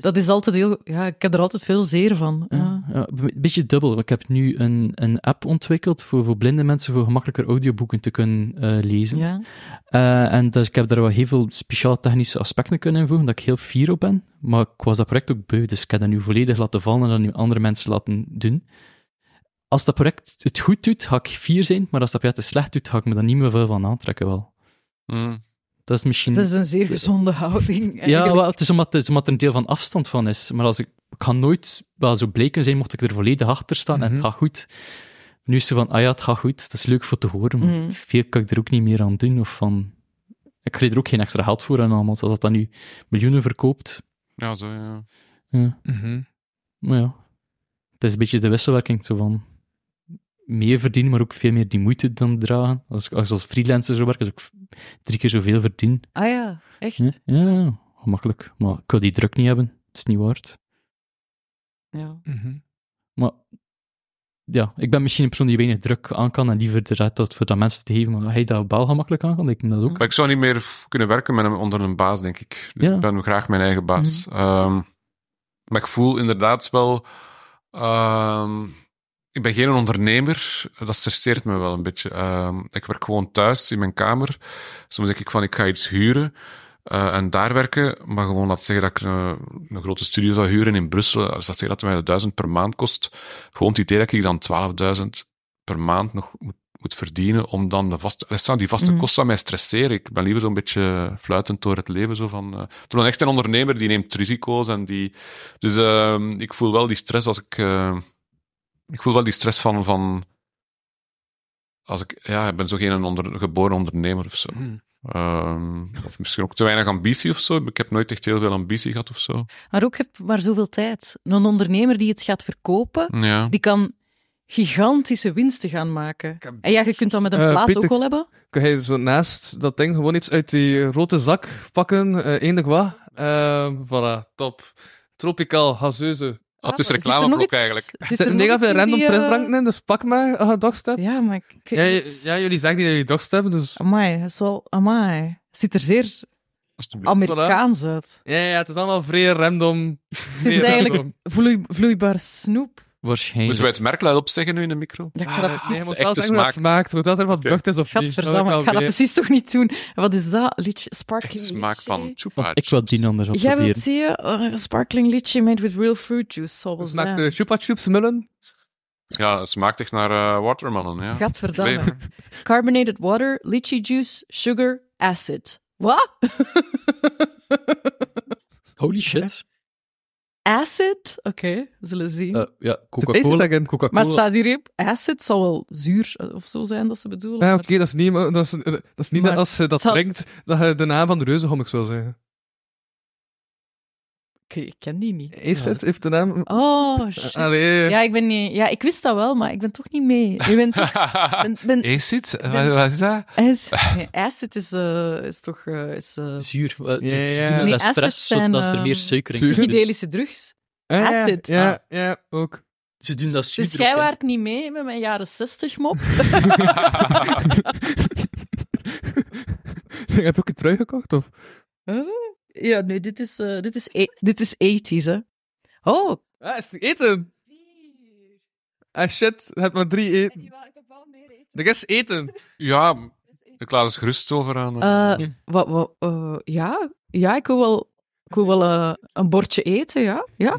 Speaker 4: dat is altijd heel... Ja, ik heb er altijd veel zeer van. Ah,
Speaker 6: Ja,
Speaker 4: Ja.
Speaker 6: ja, een beetje dubbel. want Ik heb nu een, een app ontwikkeld voor, voor blinde mensen voor gemakkelijker audioboeken te kunnen eh, lezen.
Speaker 4: Ja.
Speaker 6: Eh, en dus ik heb daar wel heel veel speciale technische aspecten kunnen invoegen, dat ik heel fier op ben. Maar ik was dat project ook beu, dus ik heb dat nu volledig laten vallen en dat nu andere mensen laten doen. Als dat project het goed doet, ga ik fier zijn, maar als dat project het slecht doet, ga ik me daar niet meer veel van aantrekken wel.
Speaker 5: Mm.
Speaker 6: Dat is misschien...
Speaker 4: Dat is een zeer gezonde houding.
Speaker 6: ja,
Speaker 4: eigenlijk.
Speaker 6: wel, het is omdat, het is omdat er een deel van afstand van is. Maar als ik, ik ga nooit wel zo blij kunnen zijn mocht ik er volledig achter staan en het gaat goed. Nu is ze van, ah ja, het gaat goed, dat is leuk voor te horen, maar
Speaker 4: Mhm.
Speaker 6: veel kan ik er ook niet meer aan doen. Of van, ik krijg er ook geen extra geld voor en allemaal. Als dat dan nu miljoenen verkoopt,
Speaker 5: Ja, zo, ja.
Speaker 6: ja.
Speaker 3: Mhm.
Speaker 6: Maar ja, het is een beetje de wisselwerking zo van meer verdienen, maar ook veel meer die moeite dan dragen. Als ik als, ik als freelancer zou werken, zou ik v- drie keer zoveel verdienen.
Speaker 4: Ah ja, echt?
Speaker 6: Ja, ja, gemakkelijk. Maar ik wil die druk niet hebben. Het is niet waard.
Speaker 4: Ja.
Speaker 3: Mhm.
Speaker 6: Maar ja, ik ben misschien een persoon die weinig druk aan kan en liever de raad dat voor dat mensen te geven. Maar hij dat wel gemakkelijk aan kan, ik kan dat ook.
Speaker 5: Maar ik zou niet meer f- kunnen werken met een, onder een baas, denk ik. Dus
Speaker 6: Ja. Mhm.
Speaker 5: Ik ben graag mijn eigen baas. Ehm, maar ik voel inderdaad wel... ehm, ik ben geen ondernemer. Dat stresseert me wel een beetje. Ehm, ik werk gewoon thuis in mijn kamer. Soms denk ik van, ik ga iets huren eh, en daar werken. Maar gewoon laat zeggen dat ik een, een grote studio zou huren in Brussel. Als dat zeggen dat het mij 1000 per maand kost. Gewoon het idee dat ik dan 12.000 per maand nog moet, moet verdienen om dan de vaste, dat zou- die vaste
Speaker 4: Mhm.
Speaker 5: kosten aan mij stresseren. Ik ben liever zo'n beetje fluitend door het leven. Zo van, eh terwijl echt een ondernemer die neemt risico's en die, dus ehm, ik voel wel die stress als ik, eh, ik voel wel die stress van, van als ik, ja, ik ben zo geen onder, geboren ondernemer of zo. Ehm, of misschien ook te weinig ambitie of zo. Ik heb nooit echt heel veel ambitie gehad of zo.
Speaker 4: Maar ook, je hebt maar zoveel tijd. Een ondernemer die iets gaat verkopen,
Speaker 5: Ja.
Speaker 4: die kan gigantische winsten gaan maken. En ja, je kunt dat met een
Speaker 3: Eh,
Speaker 4: plaat
Speaker 3: Pieter-
Speaker 4: ook wel hebben.
Speaker 3: Kun jij zo naast dat ding gewoon iets uit die grote zak pakken? eh enig wat? Ehm, voilà, top. Tropicaal, gazeuze.
Speaker 5: Ah, het is
Speaker 4: Zit er nog
Speaker 5: reclameblok
Speaker 4: iets-
Speaker 5: eigenlijk.
Speaker 4: Zit
Speaker 3: Er
Speaker 4: er
Speaker 3: zitten
Speaker 4: nog
Speaker 3: mega
Speaker 4: iets
Speaker 3: veel
Speaker 4: in
Speaker 3: random
Speaker 4: die, eh,
Speaker 3: frisdranken in, dus pak maar als je dorst hebt.
Speaker 4: Ja, maar ik, ik weet
Speaker 3: Ja, j-
Speaker 4: niet.
Speaker 3: ja, jullie zeggen niet dat jullie dorst hebben, dus...
Speaker 4: Amai, dat is wel... Amai. Ziet er zeer
Speaker 5: Alsjeblieft.
Speaker 4: Amerikaans uit.
Speaker 3: Ja, ja, het is allemaal vrij random.
Speaker 4: Het is eigenlijk vloei, vloeibaar snoep.
Speaker 6: Waarschijnlijk.
Speaker 5: Moeten wij het merkluid opzeggen nu in de micro?
Speaker 4: Ja, ik ga dat precies...
Speaker 3: Nee, je moet
Speaker 5: Echte
Speaker 3: wel zeggen hoe dat
Speaker 5: smaak.
Speaker 3: smaakt, hoe dat er wat
Speaker 5: Oké.
Speaker 3: bucht is of niet. Dat
Speaker 4: Gadverdamme,
Speaker 3: wil
Speaker 4: ik
Speaker 3: ik
Speaker 4: ga
Speaker 3: wel
Speaker 4: dat
Speaker 3: weten.
Speaker 4: precies toch niet doen. Wat is dat? Liedje,
Speaker 5: Echt
Speaker 4: sparkling
Speaker 5: smaak van
Speaker 4: litchi.
Speaker 5: chupa.
Speaker 6: Ik wil die anders al
Speaker 4: Jij wilt
Speaker 6: proberen.
Speaker 4: zien eh, sparkling litchi made with real fruit juice.
Speaker 3: Het
Speaker 4: Zoals
Speaker 3: Smaakt dus- de chupa chups mullen?
Speaker 5: Ja, het smaakt echt naar eh, watermelon, ja.
Speaker 4: Gadverdamme.
Speaker 5: Nee.
Speaker 4: Carbonated water, litchi juice, sugar, acid. Wat?
Speaker 6: Holy shit.
Speaker 4: Acid? Oké, we zullen zien.
Speaker 6: Eh, ja,
Speaker 3: Is het
Speaker 6: Coca-Cola.
Speaker 3: daarin?
Speaker 4: maar
Speaker 6: Coca-Cola.
Speaker 4: staat hier op acid zal wel zuur eh, of zo zijn dat ze bedoelen.
Speaker 3: Ja,
Speaker 4: maar-
Speaker 3: Ah, oké, dat is niet, maar dat is, eh, dat is niet
Speaker 4: Maar
Speaker 3: dat als je dat
Speaker 4: het zal-
Speaker 3: drinkt, dat je de naam van de reuzenhommix wil zeggen.
Speaker 4: Oké, ik ken die niet.
Speaker 3: Is het? Eh, Heeft de naam...
Speaker 4: Oh, shit.
Speaker 3: Allee.
Speaker 4: Ja, ik ben niet... Ja, ik wist dat wel, maar ik ben toch niet mee. Je bent toch... Ben, ben,
Speaker 5: Is het? Wat, wat is dat?
Speaker 4: As- nee, acid is, eh, is toch... eh, is, eh,
Speaker 6: Zuur. Eh, ze-
Speaker 3: Ja,
Speaker 6: ze
Speaker 3: ja.
Speaker 6: doen een
Speaker 4: Nee, acids
Speaker 6: espresso,
Speaker 4: zijn,
Speaker 6: zodat er
Speaker 4: ehm,
Speaker 6: meer suiker in
Speaker 3: zuur.
Speaker 6: zit.
Speaker 4: psychedelische drugs.
Speaker 3: Ah, ja,
Speaker 4: acid.
Speaker 3: Ja, ja, ook.
Speaker 6: Ze doen dat zuur
Speaker 4: Dus jij
Speaker 6: erop in.
Speaker 4: waart niet mee met mijn jaren 60 mop.
Speaker 3: Heb ik een trui gekocht? Of?
Speaker 4: ja, nee, dit is, eh, dit is, e- dit is 80s, hè. Oh,
Speaker 3: Ah, is het eten? Ah shit, je hebt maar drie eten. Er is eten.
Speaker 5: Ja, ik laat het gerust over aan. eh,
Speaker 4: Eh, wat, wat, eh, ja. ja, ik wil wel, ik wil wel eh, een bordje eten, ja. ja.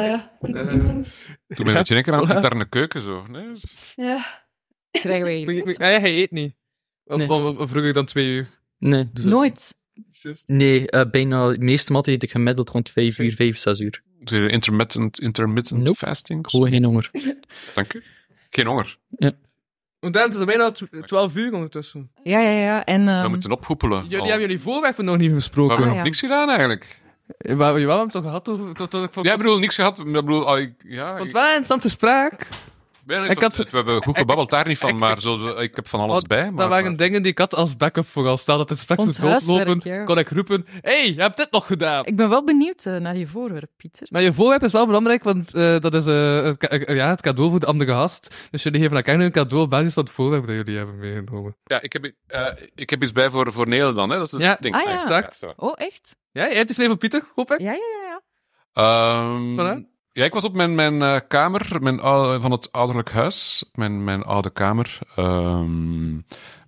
Speaker 3: Eh,
Speaker 5: Toen ben je in één keer aan de interne keuken zo. Nee?
Speaker 4: Krijgen wij
Speaker 3: Ik-
Speaker 4: hier
Speaker 3: ik- ik-
Speaker 4: eten?
Speaker 3: ah, ja, hij eet niet. Of,
Speaker 6: Nee.
Speaker 3: of- of vroeger dan twee uur.
Speaker 6: Nee, dus-
Speaker 4: Nooit.
Speaker 3: Just.
Speaker 6: Nee, eh, bijna de meeste matten eet ik gemiddeld rond 5 uur, 5, 6 uur.
Speaker 5: Zijn er Intermittent, intermittent
Speaker 6: Nope.
Speaker 5: fasting?
Speaker 6: Gewoon geen honger.
Speaker 5: Dank u. Geen honger.
Speaker 3: Want daarom is het bijna tw- 12 uur ondertussen.
Speaker 4: Ja, ja, ja. En,
Speaker 5: We
Speaker 4: ehm,
Speaker 5: moeten ophoepelen.
Speaker 3: Jullie
Speaker 5: al.
Speaker 3: hebben jullie voorwerpen nog niet
Speaker 5: we
Speaker 3: besproken.
Speaker 5: hebben
Speaker 4: Ah,
Speaker 5: nog
Speaker 4: ja.
Speaker 5: niks gedaan eigenlijk.
Speaker 3: Eh, Waar we hebben het toch gehad over... Tot, tot, ik vond-
Speaker 5: Ja, ik bedoel, niks gehad. Ik bedoel, ah, ik, ja,
Speaker 3: ik
Speaker 5: ik,
Speaker 3: vond het wel interessant te spraak.
Speaker 5: ben
Speaker 3: ik had-
Speaker 5: we hebben goed gebabbeld daar niet van, maar zo, ik heb van alles
Speaker 3: Want
Speaker 5: bij.
Speaker 3: dat
Speaker 5: maar-
Speaker 3: waren
Speaker 5: maar-
Speaker 3: dingen die ik had als backup vooral. Stel dat het straks
Speaker 4: Ons
Speaker 3: moet doodlopen,
Speaker 4: huiswerk, ja.
Speaker 3: kon ik roepen... hey, je hebt dit nog gedaan!
Speaker 4: ik ben wel benieuwd eh, naar je voorwerp, Pieter.
Speaker 3: Maar je voorwerp is wel belangrijk, want eh, dat is eh, het, ka- eh, ja, het cadeau voor de andere gast. Dus jullie geven elkaar nu een cadeau op basis van het voorwerp dat jullie hebben meegenomen.
Speaker 5: Ja, ik heb, eh, ik heb iets bij voor, voor Nele dan, hè? Dat is het
Speaker 3: Ja.
Speaker 5: ding.
Speaker 4: Ah, ja.
Speaker 3: Exact.
Speaker 5: zo.
Speaker 4: Oh, echt?
Speaker 3: Ja, jij hebt iets mee voor Pieter, hoop ik.
Speaker 4: Ja, ja, ja. ja.
Speaker 5: Ehm,
Speaker 3: Voilà.
Speaker 5: Ja, ik was op mijn, mijn eh, kamer mijn, oude- van het ouderlijk huis. Mijn, mijn oude kamer. Ehm,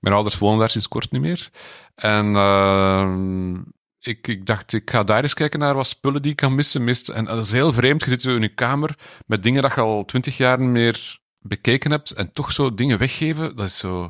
Speaker 5: mijn ouders wonen daar sinds kort niet meer. En ehm, ik, ik dacht, ik ga daar eens kijken naar wat spullen die ik kan missen. Mist. En dat is heel vreemd. Je zit zo in je kamer met dingen dat je al twintig jaar niet meer bekeken hebt. En toch zo dingen weggeven. Dat is zo...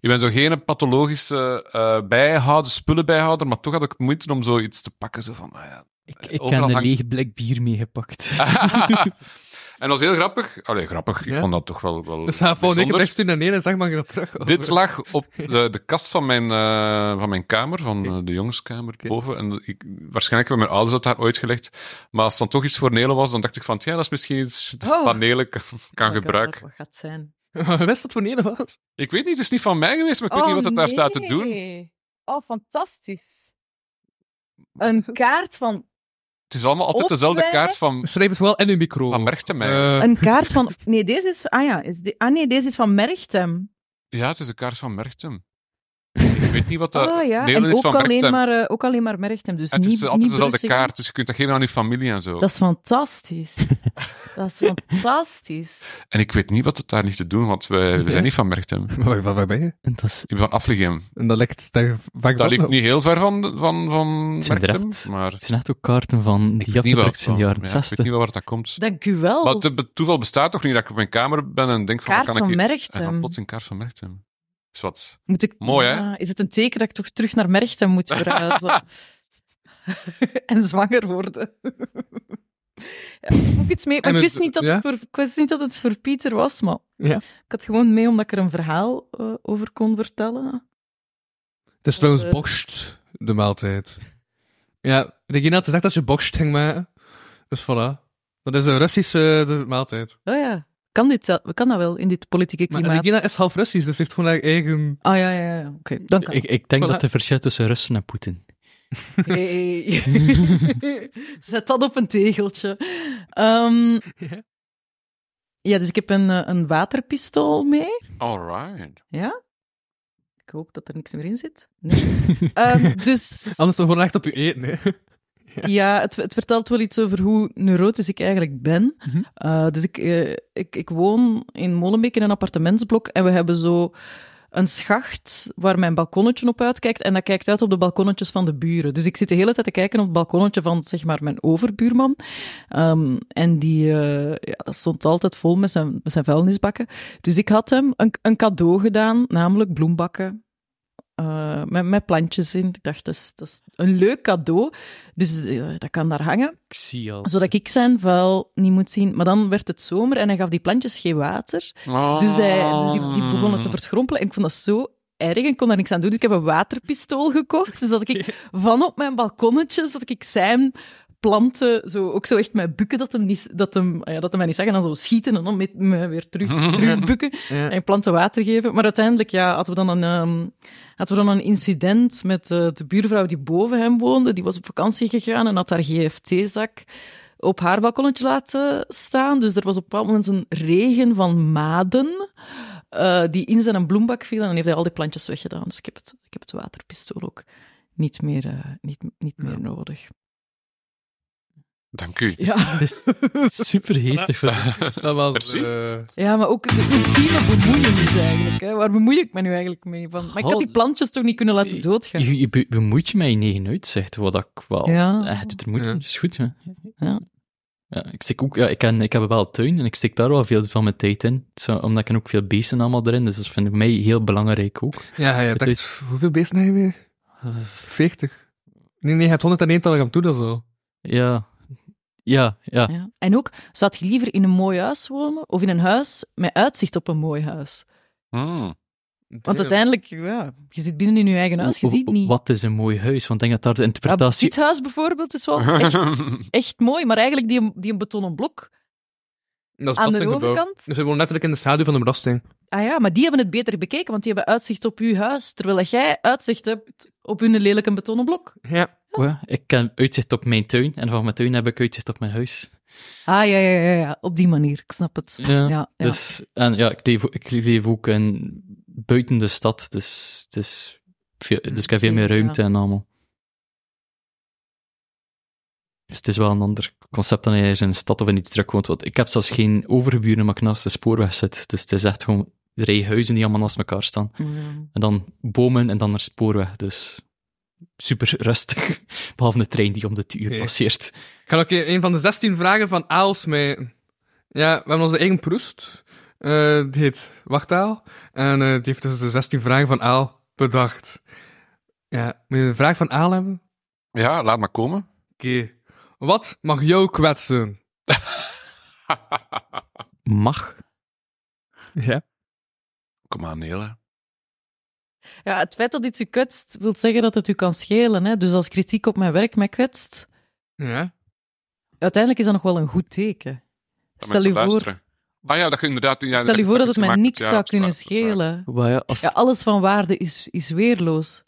Speaker 5: Ik ben zo geen pathologische eh bijhouden, spullen bijhouder, maar toch had ik moeite om zoiets te pakken. Zo van, ah ja,
Speaker 6: Ik, ik heb
Speaker 5: Overal
Speaker 6: een
Speaker 5: hangt-
Speaker 6: lege blik bier meegepakt.
Speaker 5: en dat was heel grappig. Allee, grappig. Ik
Speaker 3: Ja.
Speaker 5: vond dat toch wel, wel
Speaker 3: Dus hij vond ik
Speaker 5: bijzonder.
Speaker 3: best toen naar en zeg maar dat terug.
Speaker 5: Dit lag op de, de kast van mijn, eh, van mijn kamer, van eh, de jongenskamer boven. En ik, waarschijnlijk hebben mijn ouders dat daar ooit gelegd. Maar als het dan toch iets voor Nelen was, dan dacht ik van, ja, dat is misschien iets dat
Speaker 4: Oh.
Speaker 5: Nelen kan, kan gebruiken.
Speaker 4: Wat gaat het zijn?
Speaker 3: Wist dat voor Nele was?
Speaker 5: Ik weet niet, het is niet van mij geweest, maar ik weet
Speaker 4: Oh,
Speaker 5: niet wat het daar staat te doen.
Speaker 7: Oh, fantastisch. Een kaart van...
Speaker 5: Het is allemaal altijd dezelfde
Speaker 7: Opwerpen.
Speaker 5: kaart van,
Speaker 3: Schrijf het wel in uw micro.
Speaker 5: van Merchtemijn.
Speaker 3: Eh,
Speaker 7: Een kaart van... Nee, deze is... Ah ja, is die- ah, nee, deze is van Merchtem.
Speaker 5: Ja, het is de kaart van Merchtem. ik weet niet wat eh, dat...
Speaker 7: oh ja,
Speaker 5: Nelen
Speaker 7: en
Speaker 5: is
Speaker 7: ook
Speaker 5: van
Speaker 7: alleen,
Speaker 5: Merchtem.
Speaker 7: maar, eh, ook alleen maar Merchtem. Dus
Speaker 5: het
Speaker 7: niet,
Speaker 5: is altijd
Speaker 7: niet
Speaker 5: dezelfde
Speaker 7: Brugge.
Speaker 5: kaart, dus je kunt dat geven aan je familie en zo.
Speaker 7: Dat is fantastisch. dat is fantastisch.
Speaker 5: En ik weet niet wat het daar niet te doen, want we, we zijn niet van Merchtem. Ik
Speaker 3: waar, waar- waar ben je?
Speaker 6: En dat is
Speaker 5: ben van Afligem.
Speaker 3: En dat ligt daar vaak
Speaker 5: Dat ligt niet heel ver van, van, van
Speaker 6: Het zijn
Speaker 5: Merchtem,
Speaker 6: draad.
Speaker 5: maar...
Speaker 6: Het zijn echt ook kaarten van
Speaker 5: ik
Speaker 6: die
Speaker 5: weet niet waar
Speaker 6: afgedrukt
Speaker 5: het
Speaker 6: zijn in de
Speaker 5: van-
Speaker 6: jaren
Speaker 5: ja, Ik weet niet
Speaker 6: 60.
Speaker 5: waar dat komt.
Speaker 4: Dank u wel.
Speaker 5: Maar het be- toeval bestaat toch niet dat ik op mijn kamer ben en denk van... wat
Speaker 4: Kaart
Speaker 5: kan
Speaker 4: van
Speaker 5: ik... hier- En dan
Speaker 4: Merchtem.
Speaker 5: plots een kaart van Merchtem. Is wat...
Speaker 4: Moet ik...
Speaker 5: Mooi, hè?
Speaker 4: Ah, Is het een teken dat ik toch terug naar Merchtem moet verhuizen? en zwanger worden. Ja, Moet ik iets mee? Maar
Speaker 3: En
Speaker 4: ik,
Speaker 3: het-
Speaker 4: wist niet dat
Speaker 3: ja?
Speaker 4: het voor, ik wist niet dat het voor Pieter was, maar
Speaker 3: Ja.
Speaker 4: ik had gewoon mee omdat ik er een verhaal eh, over kon vertellen.
Speaker 3: Het is trouwens bokst, de maaltijd. Ja, Regina had gezegd dat je bokst ging maken. Dus voilà. Dat is een Russische eh, de maaltijd.
Speaker 4: Oh ja, kan, dit, wel- kan dat wel in dit politieke
Speaker 3: Maar
Speaker 4: klimaat?
Speaker 3: Regina is half Russisch, dus ze heeft gewoon haar eigen...
Speaker 4: Ah ja, ja, ja. Oké, dan kan
Speaker 6: Ik, ik denk
Speaker 3: Voilà.
Speaker 6: dat er verschil tussen Russen en Poetin.
Speaker 4: het. Hey. Zet dat op een tegeltje. Ehm,
Speaker 3: Ja.
Speaker 4: ja, dus ik heb een, eh, een waterpistool mee.
Speaker 5: Alright.
Speaker 4: Ik hoop dat er niks meer in zit. Nee. Ehm, dus
Speaker 3: Anders dan gewoon echt op je eten, hè.
Speaker 4: ja, het, het vertelt wel iets over hoe neurotisch ik eigenlijk ben.
Speaker 6: Mhm.
Speaker 4: Eh, dus ik, eh, ik, ik woon in Molenbeek in een appartementsblok en we hebben zo een schacht waar mijn balkonnetje op uitkijkt en dat kijkt uit op de balkonnetjes van de buren. Dus ik zit de hele tijd te kijken op het balkonnetje van zeg maar mijn overbuurman. Ehm, en die eh, ja, dat stond altijd vol met zijn, met zijn vuilnisbakken. Dus ik had hem een, een cadeau gedaan, namelijk bloembakken. eh, met, met plantjes in. Ik dacht, dat is, dat is een leuk cadeau. Dus eh, dat kan daar hangen.
Speaker 6: Ik zie al.
Speaker 4: Zodat ik zijn vuil niet moet zien. Maar dan werd het zomer en hij gaf die plantjes geen water. Dus, hij, dus die,
Speaker 5: Ah.
Speaker 4: die begonnen te verschrompelen. En ik vond dat zo erg en ik kon daar niks aan doen. Dus ik heb een waterpistool gekocht. Dus dat ik van op mijn balkonnetje, dat ik zijn planten, zo, ook zo echt met bukken, dat hem, niet, dat hem, ja, dat hem mij niet zag. En dan zo schieten en dan met me weer terug, terug bukken
Speaker 3: Ja.
Speaker 4: en planten water geven. Maar uiteindelijk ja, hadden, we dan een, ehm, hadden we dan een incident met eh, de buurvrouw die boven hem woonde. Die was op vakantie gegaan en had haar GFT-zak op haar balkonnetje laten staan. Dus er was op een bepaald moment een regen van maden eh, die in zijn bloembak viel. En dan heeft hij al die plantjes weggedaan. Dus ik heb het, ik heb het waterpistool ook niet meer, eh, niet, niet meer nodig.
Speaker 5: Dank u.
Speaker 4: Ja.
Speaker 6: Het is super geestig.
Speaker 3: Dat was...
Speaker 5: Merci.
Speaker 3: eh,
Speaker 4: ja, maar ook de ultieme bemoeienis eigenlijk. Hè. Waar bemoei ik me nu eigenlijk mee? Van, maar ik had die
Speaker 6: God.
Speaker 4: plantjes toch niet kunnen laten doodgaan.
Speaker 6: Je, je be- bemoeit je met je negen uitzicht, wat ik wel...
Speaker 4: Ja.
Speaker 6: Eh, het doet er moeite,
Speaker 3: Ja.
Speaker 6: dat is goed. Hè.
Speaker 4: Ja.
Speaker 6: Ja, ik, steek ook, ja, ik, ken, ik heb wel een tuin en ik steek daar wel veel van mijn tijd in. Zo, omdat ik ken ook veel beesten allemaal erin, dus dat vind ik mij heel belangrijk ook.
Speaker 3: Ja, je hebt echt- Hoeveel beesten heb je weer? Veertig. Nee, nee, je hebt 101 tal aan toe, dat zo.
Speaker 6: Ja, ja, ja.
Speaker 4: Ja. En ook, zou je liever in een mooi huis wonen of in een huis met uitzicht op een mooi huis?
Speaker 5: Hmm.
Speaker 4: Want uiteindelijk, ja, je zit binnen in je eigen huis, je
Speaker 6: O- o-
Speaker 4: ziet niet.
Speaker 6: Wat is een mooi huis? Want ik denk dat daar de
Speaker 4: Ja,
Speaker 6: interpretatie...
Speaker 4: dit huis bijvoorbeeld is wel echt, echt mooi, maar eigenlijk die, die een betonnen blok.
Speaker 3: Dat is
Speaker 4: aan de
Speaker 3: belastinggebouw.
Speaker 4: overkant?
Speaker 3: Dus we wonen letterlijk in de schaduw van de belasting.
Speaker 4: Ah ja, maar die hebben het beter bekeken, want die hebben uitzicht op je huis, terwijl dat jij uitzicht hebt op hun lelijke betonnen blok.
Speaker 3: Ja.
Speaker 6: Ja, ik ken uitzicht op mijn tuin en van mijn tuin heb ik uitzicht op mijn huis.
Speaker 4: Ah ja, ja, ja, ja, op die manier, ik snap het.
Speaker 6: Ja,
Speaker 4: Ja, ja.
Speaker 6: Dus, en ja, ik leef, ik leef ook in, buiten de stad, dus, het is veel, dus
Speaker 4: Mm,
Speaker 6: ik heb veel meer ruimte en allemaal. Dus het is wel een ander concept dan je in een stad of in iets druk woont. Want ik heb zelfs geen overburen, maar ik naast de spoorweg zit. Dus het is echt gewoon een rij huizen die allemaal naast elkaar staan.
Speaker 4: Mm.
Speaker 6: En dan bomen en dan naar spoorweg. Dus super rustig. Behalve de trein die om de uur
Speaker 3: Oké.
Speaker 6: passeert.
Speaker 3: Ik ga ook een van de 16 vragen van Aals mee. Ja, we hebben onze eigen proest. Eh, eh, die heet Wachtaal. En eh, die heeft dus de 16 vragen van Aal bedacht. Ja, moet je een vraag van Aal hebben?
Speaker 5: Ja, laat maar komen.
Speaker 3: Oké. Wat mag jou kwetsen?
Speaker 8: Mag.
Speaker 3: Ja.
Speaker 5: Kom aan, Nele.
Speaker 4: Ja, het feit dat iets u kwetst, wil zeggen dat het u kan schelen. Hè? Dus als kritiek op mijn werk mij kwetst,
Speaker 3: Ja.
Speaker 4: uiteindelijk is dat nog wel een goed teken.
Speaker 5: Dat
Speaker 4: Stel
Speaker 5: mensen
Speaker 4: u voor,
Speaker 5: luisteren. Ah ja, dat je inderdaad... Ja,
Speaker 4: stel u voor dat het mij niks
Speaker 5: zou
Speaker 4: zou kunnen schelen.
Speaker 8: Maar ja, als
Speaker 4: Ja, alles van waarde is, is weerloos.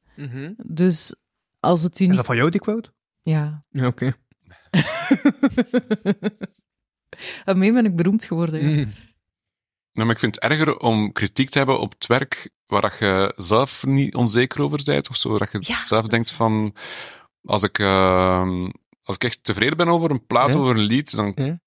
Speaker 4: Dus als het u
Speaker 3: Is
Speaker 4: niet...
Speaker 3: dat van jou die quote?
Speaker 4: Ja.
Speaker 3: Ja, oké.
Speaker 4: Daarmee ben ik beroemd geworden. ja.
Speaker 3: Mm.
Speaker 5: Nou, maar ik vind het erger om kritiek te hebben op het werk waar dat je zelf niet onzeker over bent of zo. Dat je
Speaker 4: Ja,
Speaker 5: zelf
Speaker 4: dat
Speaker 5: denkt
Speaker 4: is-
Speaker 5: van, als ik, ehm, als ik echt tevreden ben over een plaat,
Speaker 3: Ja.
Speaker 5: over een lied, dan
Speaker 3: Ja.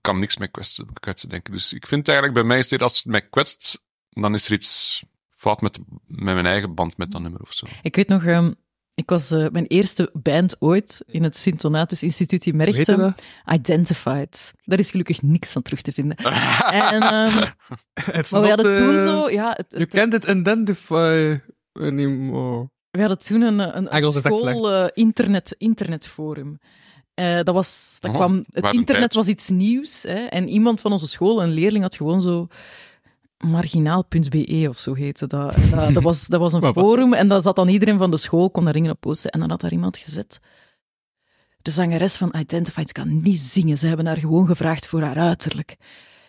Speaker 5: kan niks mij kwetsen, kwetsen, denk ik. Dus ik vind eigenlijk bij mij is dit, als het mij kwetst, dan is er iets fout met, met mijn eigen band met dat nummer of zo.
Speaker 4: Ik weet nog, ehm, ik was eh, mijn eerste band ooit in het Sint-Donatus Instituut in
Speaker 3: Hoe heette
Speaker 4: Merchten.
Speaker 3: dat?
Speaker 4: Identified. Daar is gelukkig niks van terug te vinden. En, ehm,
Speaker 3: Het is
Speaker 4: maar we
Speaker 3: not,
Speaker 4: hadden toen
Speaker 3: eh,
Speaker 4: zo... Ja, het,
Speaker 3: You
Speaker 4: het-
Speaker 3: can't identify anymore.
Speaker 4: we hadden toen een, een, een
Speaker 3: Engels is echt
Speaker 4: school eh, internet, internetforum. Eh, dat was, dat
Speaker 5: Oh,
Speaker 4: kwam, het
Speaker 5: wat een tijd.
Speaker 4: internet was iets nieuws. Hè, en iemand van onze school, een leerling, had gewoon zo marginaal.be of zo heette dat. En Dat, dat, was, dat was een
Speaker 3: Maar wat?
Speaker 4: forum en daar zat dan iedereen van de school, kon daar dingen op posten. En dan had daar iemand gezet. De zangeres van Identified kan niet zingen. Ze hebben haar gewoon gevraagd voor haar uiterlijk.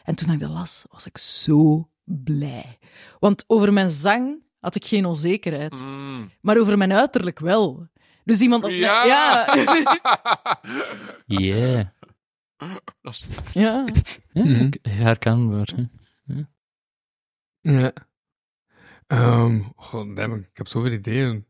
Speaker 4: En toen ik dat las, was ik zo blij. Want over mijn zang had ik geen onzekerheid
Speaker 5: Mm.
Speaker 4: maar over mijn uiterlijk wel. Dus iemand had mij-
Speaker 5: Ja!
Speaker 4: ja,
Speaker 8: Yeah.
Speaker 5: Dat is-
Speaker 4: ja.
Speaker 8: Ja,
Speaker 3: Mhm.
Speaker 8: ik- herkenbaar. hè.
Speaker 3: Ja. Ehm god, damn, ik heb zoveel ideeën.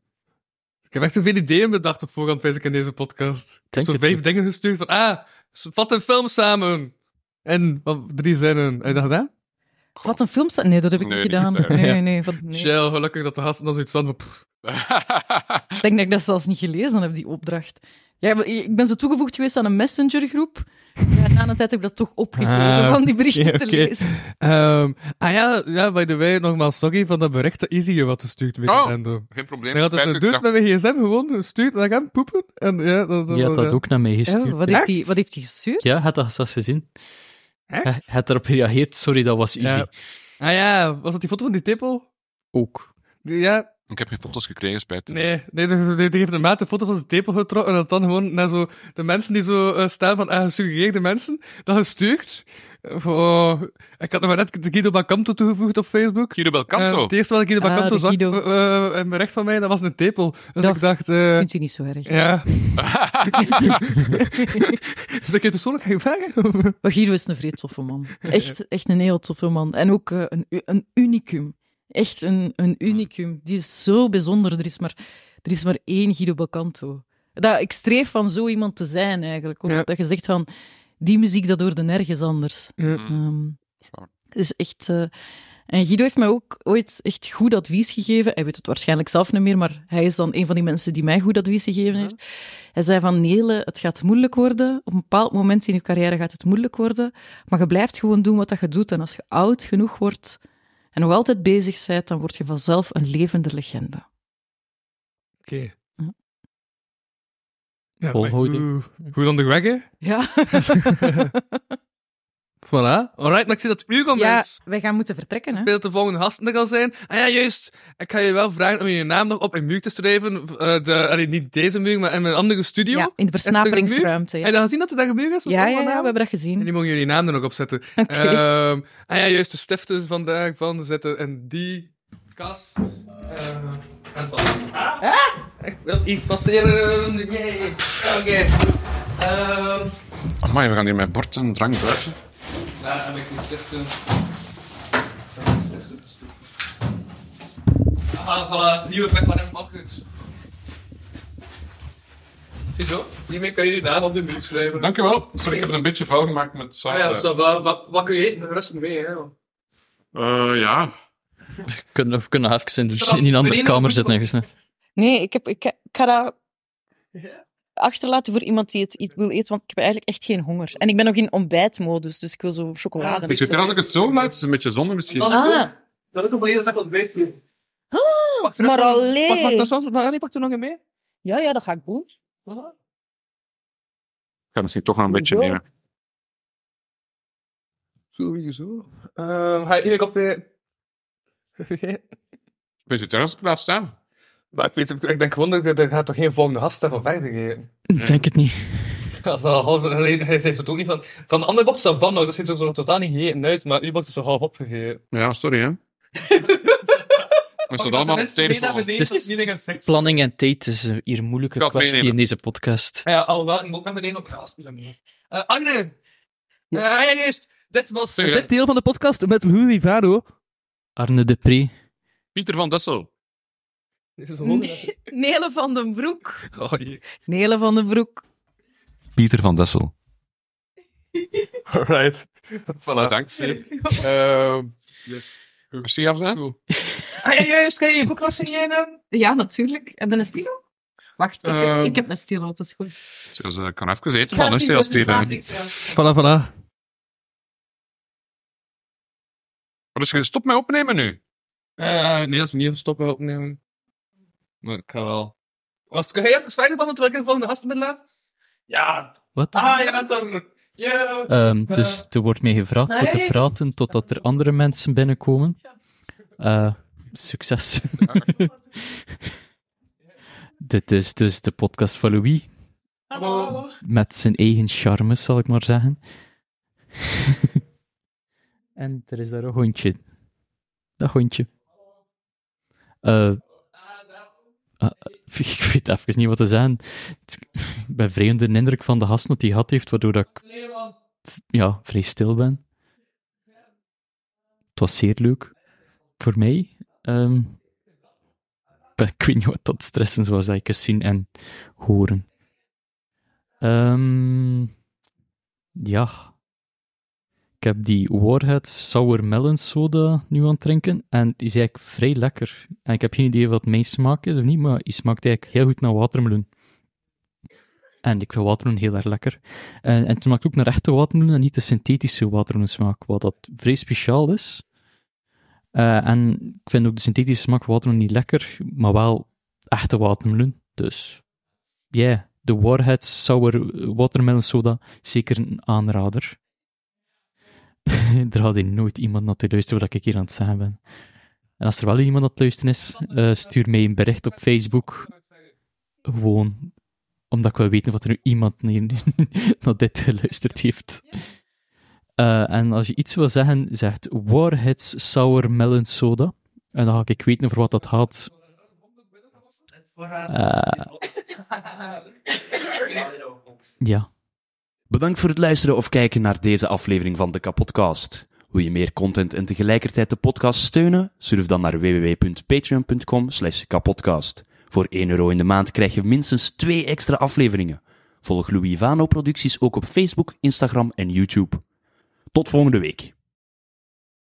Speaker 3: Ik heb echt zoveel ideeën bedacht op voorhand, wees ik, in deze podcast. Ik heb
Speaker 8: Denk
Speaker 3: zo'n
Speaker 8: het
Speaker 3: vijf
Speaker 8: ook.
Speaker 3: dingen gestuurd van, ah, s- vat een film samen. En wat, drie zinnen. Heb je dat gedaan?
Speaker 4: Wat een film staat. Nee, dat heb ik
Speaker 5: Nee,
Speaker 4: niet
Speaker 5: niet
Speaker 4: gedaan.
Speaker 5: gedaan.
Speaker 4: Nee, nee, wat, nee.
Speaker 3: Shell, gelukkig dat de gasten dan zoiets hadden. maar pff.
Speaker 4: Ik denk dat ik dat zelfs niet gelezen heb, die opdracht. Ja, maar ik ben zo toegevoegd geweest aan een messengergroep. Ja, na een tijd heb ik dat toch opgegeven
Speaker 3: Ah,
Speaker 4: van die berichten
Speaker 3: oké,
Speaker 4: te
Speaker 3: oké.
Speaker 4: lezen.
Speaker 3: Ehm, ah ja, ja, by the way, nogmaals sorry van dat bericht dat Easy je wat gestuurd met
Speaker 5: Oh.
Speaker 3: Nintendo.
Speaker 5: Geen probleem.
Speaker 3: Hij had het
Speaker 5: Spijt u, ik
Speaker 3: gedoet
Speaker 5: dacht-
Speaker 3: met mijn gsm, gewoon gestuurd naar hem, poepen. En, ja, dat,
Speaker 8: Je had dat ook naar mij
Speaker 4: Ja,
Speaker 8: gestuurd.
Speaker 4: Oh, wat, heeft die, wat heeft hij gestuurd?
Speaker 8: Ja, had dat zelfs gezien.
Speaker 3: Echt?
Speaker 8: Hij had erop gereageerd. Sorry, dat was easy.
Speaker 3: Ja. Ah ja, was dat die foto van die tepel?
Speaker 8: Ook.
Speaker 3: Die- Ja,
Speaker 5: Ik heb geen foto's gekregen, spijt. u.
Speaker 3: Nee, nee die, die- die heeft een maat een foto van zijn tepel getrokken en dat dan gewoon naar zo de mensen die zo eh, staan van eh, gesuggereerde mensen, dat gestuurd. Oh, ik had nog maar net de Guido Bacanto toegevoegd op Facebook.
Speaker 5: Guido Belcanto.
Speaker 3: Eh, het eerste wat ik Guido
Speaker 4: Ah,
Speaker 3: Bacanto
Speaker 4: de
Speaker 3: zag,
Speaker 4: Guido.
Speaker 3: eh, eh, in mijn recht van mij, dat was een tepel. Dus
Speaker 4: Dag.
Speaker 3: ik dacht, eh,
Speaker 4: Vindt u niet zo erg.
Speaker 3: ja. Zou ik je persoonlijk gaan vragen?
Speaker 4: Maar Guido is een vrij toffe man. Echt, echt een heel toffe man. En ook eh, een, u- een unicum. Echt een, een
Speaker 3: Ah.
Speaker 4: unicum. Die is zo bijzonder. Er is maar, er is maar één Guido Bacanto. Dat, ik streef van zo iemand te zijn, eigenlijk. Of
Speaker 3: Ja.
Speaker 4: Dat je zegt van, die muziek, dat hoorde nergens anders.
Speaker 3: Ja. Mm.
Speaker 4: Ehm,
Speaker 5: is waar.
Speaker 4: het is echt... eh, en Guido heeft mij ook ooit echt goed advies gegeven. Hij weet het waarschijnlijk zelf niet meer, maar hij is dan een van die mensen die mij goed advies gegeven heeft. Hij zei van Nele, het gaat moeilijk worden. Op een bepaald moment in je carrière gaat het moeilijk worden. Maar je blijft gewoon doen wat dat je doet. En als je oud genoeg wordt en nog altijd bezig bent, dan word je vanzelf een levende legende.
Speaker 3: Oké.
Speaker 4: Ja.
Speaker 3: Ja,
Speaker 8: Volhouding.
Speaker 3: maar Goed goed onderweg, hè?
Speaker 4: Ja.
Speaker 3: Voilà. Alright, maar ik zie dat het uur komt,
Speaker 4: ja,
Speaker 3: mensen.
Speaker 4: wij gaan moeten vertrekken, hè?
Speaker 3: Beeld de volgende gasten er al zijn. Ah ja, juist. Ik ga je wel vragen om je naam nog op een muur te schrijven. Eh, de, allee, niet deze muur, maar in mijn andere studio.
Speaker 4: Ja, in de
Speaker 3: er een muur?
Speaker 4: versnaperingsruimte.
Speaker 3: Heb
Speaker 4: Ja,
Speaker 3: je dat gezien dat er daar gebeurd is? met
Speaker 4: ja, ja,
Speaker 3: allemaal
Speaker 4: ja, we
Speaker 3: namen?
Speaker 4: hebben dat
Speaker 3: En
Speaker 4: gezien.
Speaker 3: die mogen jullie naam er nog op zetten.
Speaker 4: Oké.
Speaker 3: Ehm, ah ja, juist de stifters vandaag van zetten en die kast. eh, en van. Ah, ik wil hier passeren. Yay. Oké. Ehm,
Speaker 5: Amai, we gaan hier met bord en drank buiten.
Speaker 3: Daar heb ik die stiften. Dat is stiften. Ah, voilà. Nieuwe plek van hem afgehuts. Ziezo, hiermee kan je je naam op de muur schrijven.
Speaker 5: Dankjewel. Sorry, ik heb het een beetje vuil gemaakt met
Speaker 3: Ah
Speaker 5: zout.
Speaker 3: ja, ça va. Wat, wat kun je eten? Rustig mee, hè.
Speaker 5: Eh, ja.
Speaker 8: We kunnen, we kunnen nog even in, die- in die andere kamer zitten. hè, gesnet.
Speaker 4: Nee, ik, heb, ik, ik ga dat achterlaten voor iemand die het iets wil eten, want ik heb eigenlijk echt geen honger. En ik ben nog in ontbijtmodus, dus ik wil zo chocolade.
Speaker 5: Ik zit er als ik het zo laat, is een beetje zonde misschien.
Speaker 4: Ah,
Speaker 9: Dat is op een hele zaak wat beter.
Speaker 4: maar alleen.
Speaker 3: pak er nog een mee.
Speaker 4: Ja, ja, dat ga ik doen.
Speaker 5: Ik ga misschien toch nog een beetje
Speaker 4: Ja.
Speaker 5: nemen.
Speaker 3: Sowieso. Ehm, ga je iedereen op de...
Speaker 5: Ik ben zo terras als ik laat staan.
Speaker 3: maar ik, weet, het, ik denk gewoon dat dat- dat gaat toch geen volgende gast daarvan verder geven.
Speaker 6: Ik denk het niet.
Speaker 3: Dat is al half geleden. Hij zei het ook niet van... Van de andere bocht is dat van, nou, dat ziet er zo totaal niet gegeten uit, maar uw bocht is zo half opgegeten.
Speaker 5: Ja, sorry hè. We staan allemaal op telefoon.
Speaker 6: Het is- Planning en tijd is eh, hier een moeilijke
Speaker 5: Kan
Speaker 6: kwestie
Speaker 5: meenemen.
Speaker 6: in deze podcast.
Speaker 3: Ja, alhoewel, ik moet met meteen op gras spelen. Eh, Agne! Eh, Agne is- Dit was
Speaker 5: Zeg, eh.
Speaker 3: dit deel van de podcast met Louis Vado.
Speaker 6: Arne Depree.
Speaker 5: Pieter van Dessel.
Speaker 10: Nele van den Broek.
Speaker 3: Oh, jee.
Speaker 10: Nele van den Broek.
Speaker 5: Pieter van Dessel.
Speaker 3: Alright.
Speaker 5: Voilà. Ah, Dank. Ehm, Merci, Afna.
Speaker 3: Ah, juist, kan je je boek nog signeren?
Speaker 10: Ja, natuurlijk. Heb je een stilo? Wacht, ik heb,
Speaker 5: Ehm.
Speaker 10: ik heb een stilo, dat is goed.
Speaker 5: Dus, eh, Ik kan even eten, man. hè, Als die, eh,
Speaker 3: Voilà, voilà.
Speaker 5: Maar dus, stop mij opnemen nu.
Speaker 3: nee, dat is niet stoppen opnemen. Maar ik ga wel. Wacht, kun jij even verder babbelen terwijl ik de volgende gast ben laat? Ja.
Speaker 6: Wat?
Speaker 3: Ah, je bent dan... Ja.
Speaker 6: Ehm, dus er wordt mij gevraagd voor te praten totdat er andere mensen binnenkomen. Eh, succes. Dit is dus de podcast van Louis. Met zijn eigen charme, zal ik maar zeggen. en er is daar een hondje. Dat hondje. Eh, ah, ik weet even niet wat te zeggen. Het- Ik ben vreemd de indruk van de gast dat hij gehad heeft, waardoor dat ik ja, vrij stil ben. Het was zeer leuk. Voor mij. Ehm, ik ik weet niet wat dat stressen was dat ik eens zien en horen. Ehm, ja. Ik heb die Warhead Sour Melon Soda nu aan het drinken. En die is eigenlijk vrij lekker. En ik heb geen idee wat mijn smaak is of niet, maar die smaakt eigenlijk heel goed naar watermeloen. En ik vind watermeloen heel erg lekker. En, en het smaakt ook naar echte watermeloen en niet de synthetische watermeloensmaak, wat dat vrij speciaal is. Eh, en ik vind ook de synthetische smaak van watermeloen niet lekker, maar wel echte watermeloen. Dus, ja, yeah, de Warhead Sour Watermelon Soda, zeker een aanrader. er had hier nooit iemand naar te luisteren wat ik hier aan het zeggen ben. En als er wel iemand aan het luisteren is, eh, stuur mij een bericht op Facebook. Gewoon omdat ik wil weten wat er nu iemand naar naar dit geluisterd heeft. Eh, en als je iets wil zeggen, zegt Warheads Sour Melon Soda. En dan ga ik weten voor wat dat gaat. Eh, ja.
Speaker 11: Bedankt voor het luisteren of kijken naar deze aflevering van de Kapodcast. Wil je meer content en tegelijkertijd de podcast steunen? Surf dan naar www.patreon.com slash kapodcast. Voor 1 euro in de maand krijg je minstens 2 extra afleveringen. Volg Louis Vano producties ook op Facebook, Instagram en YouTube. Tot volgende week.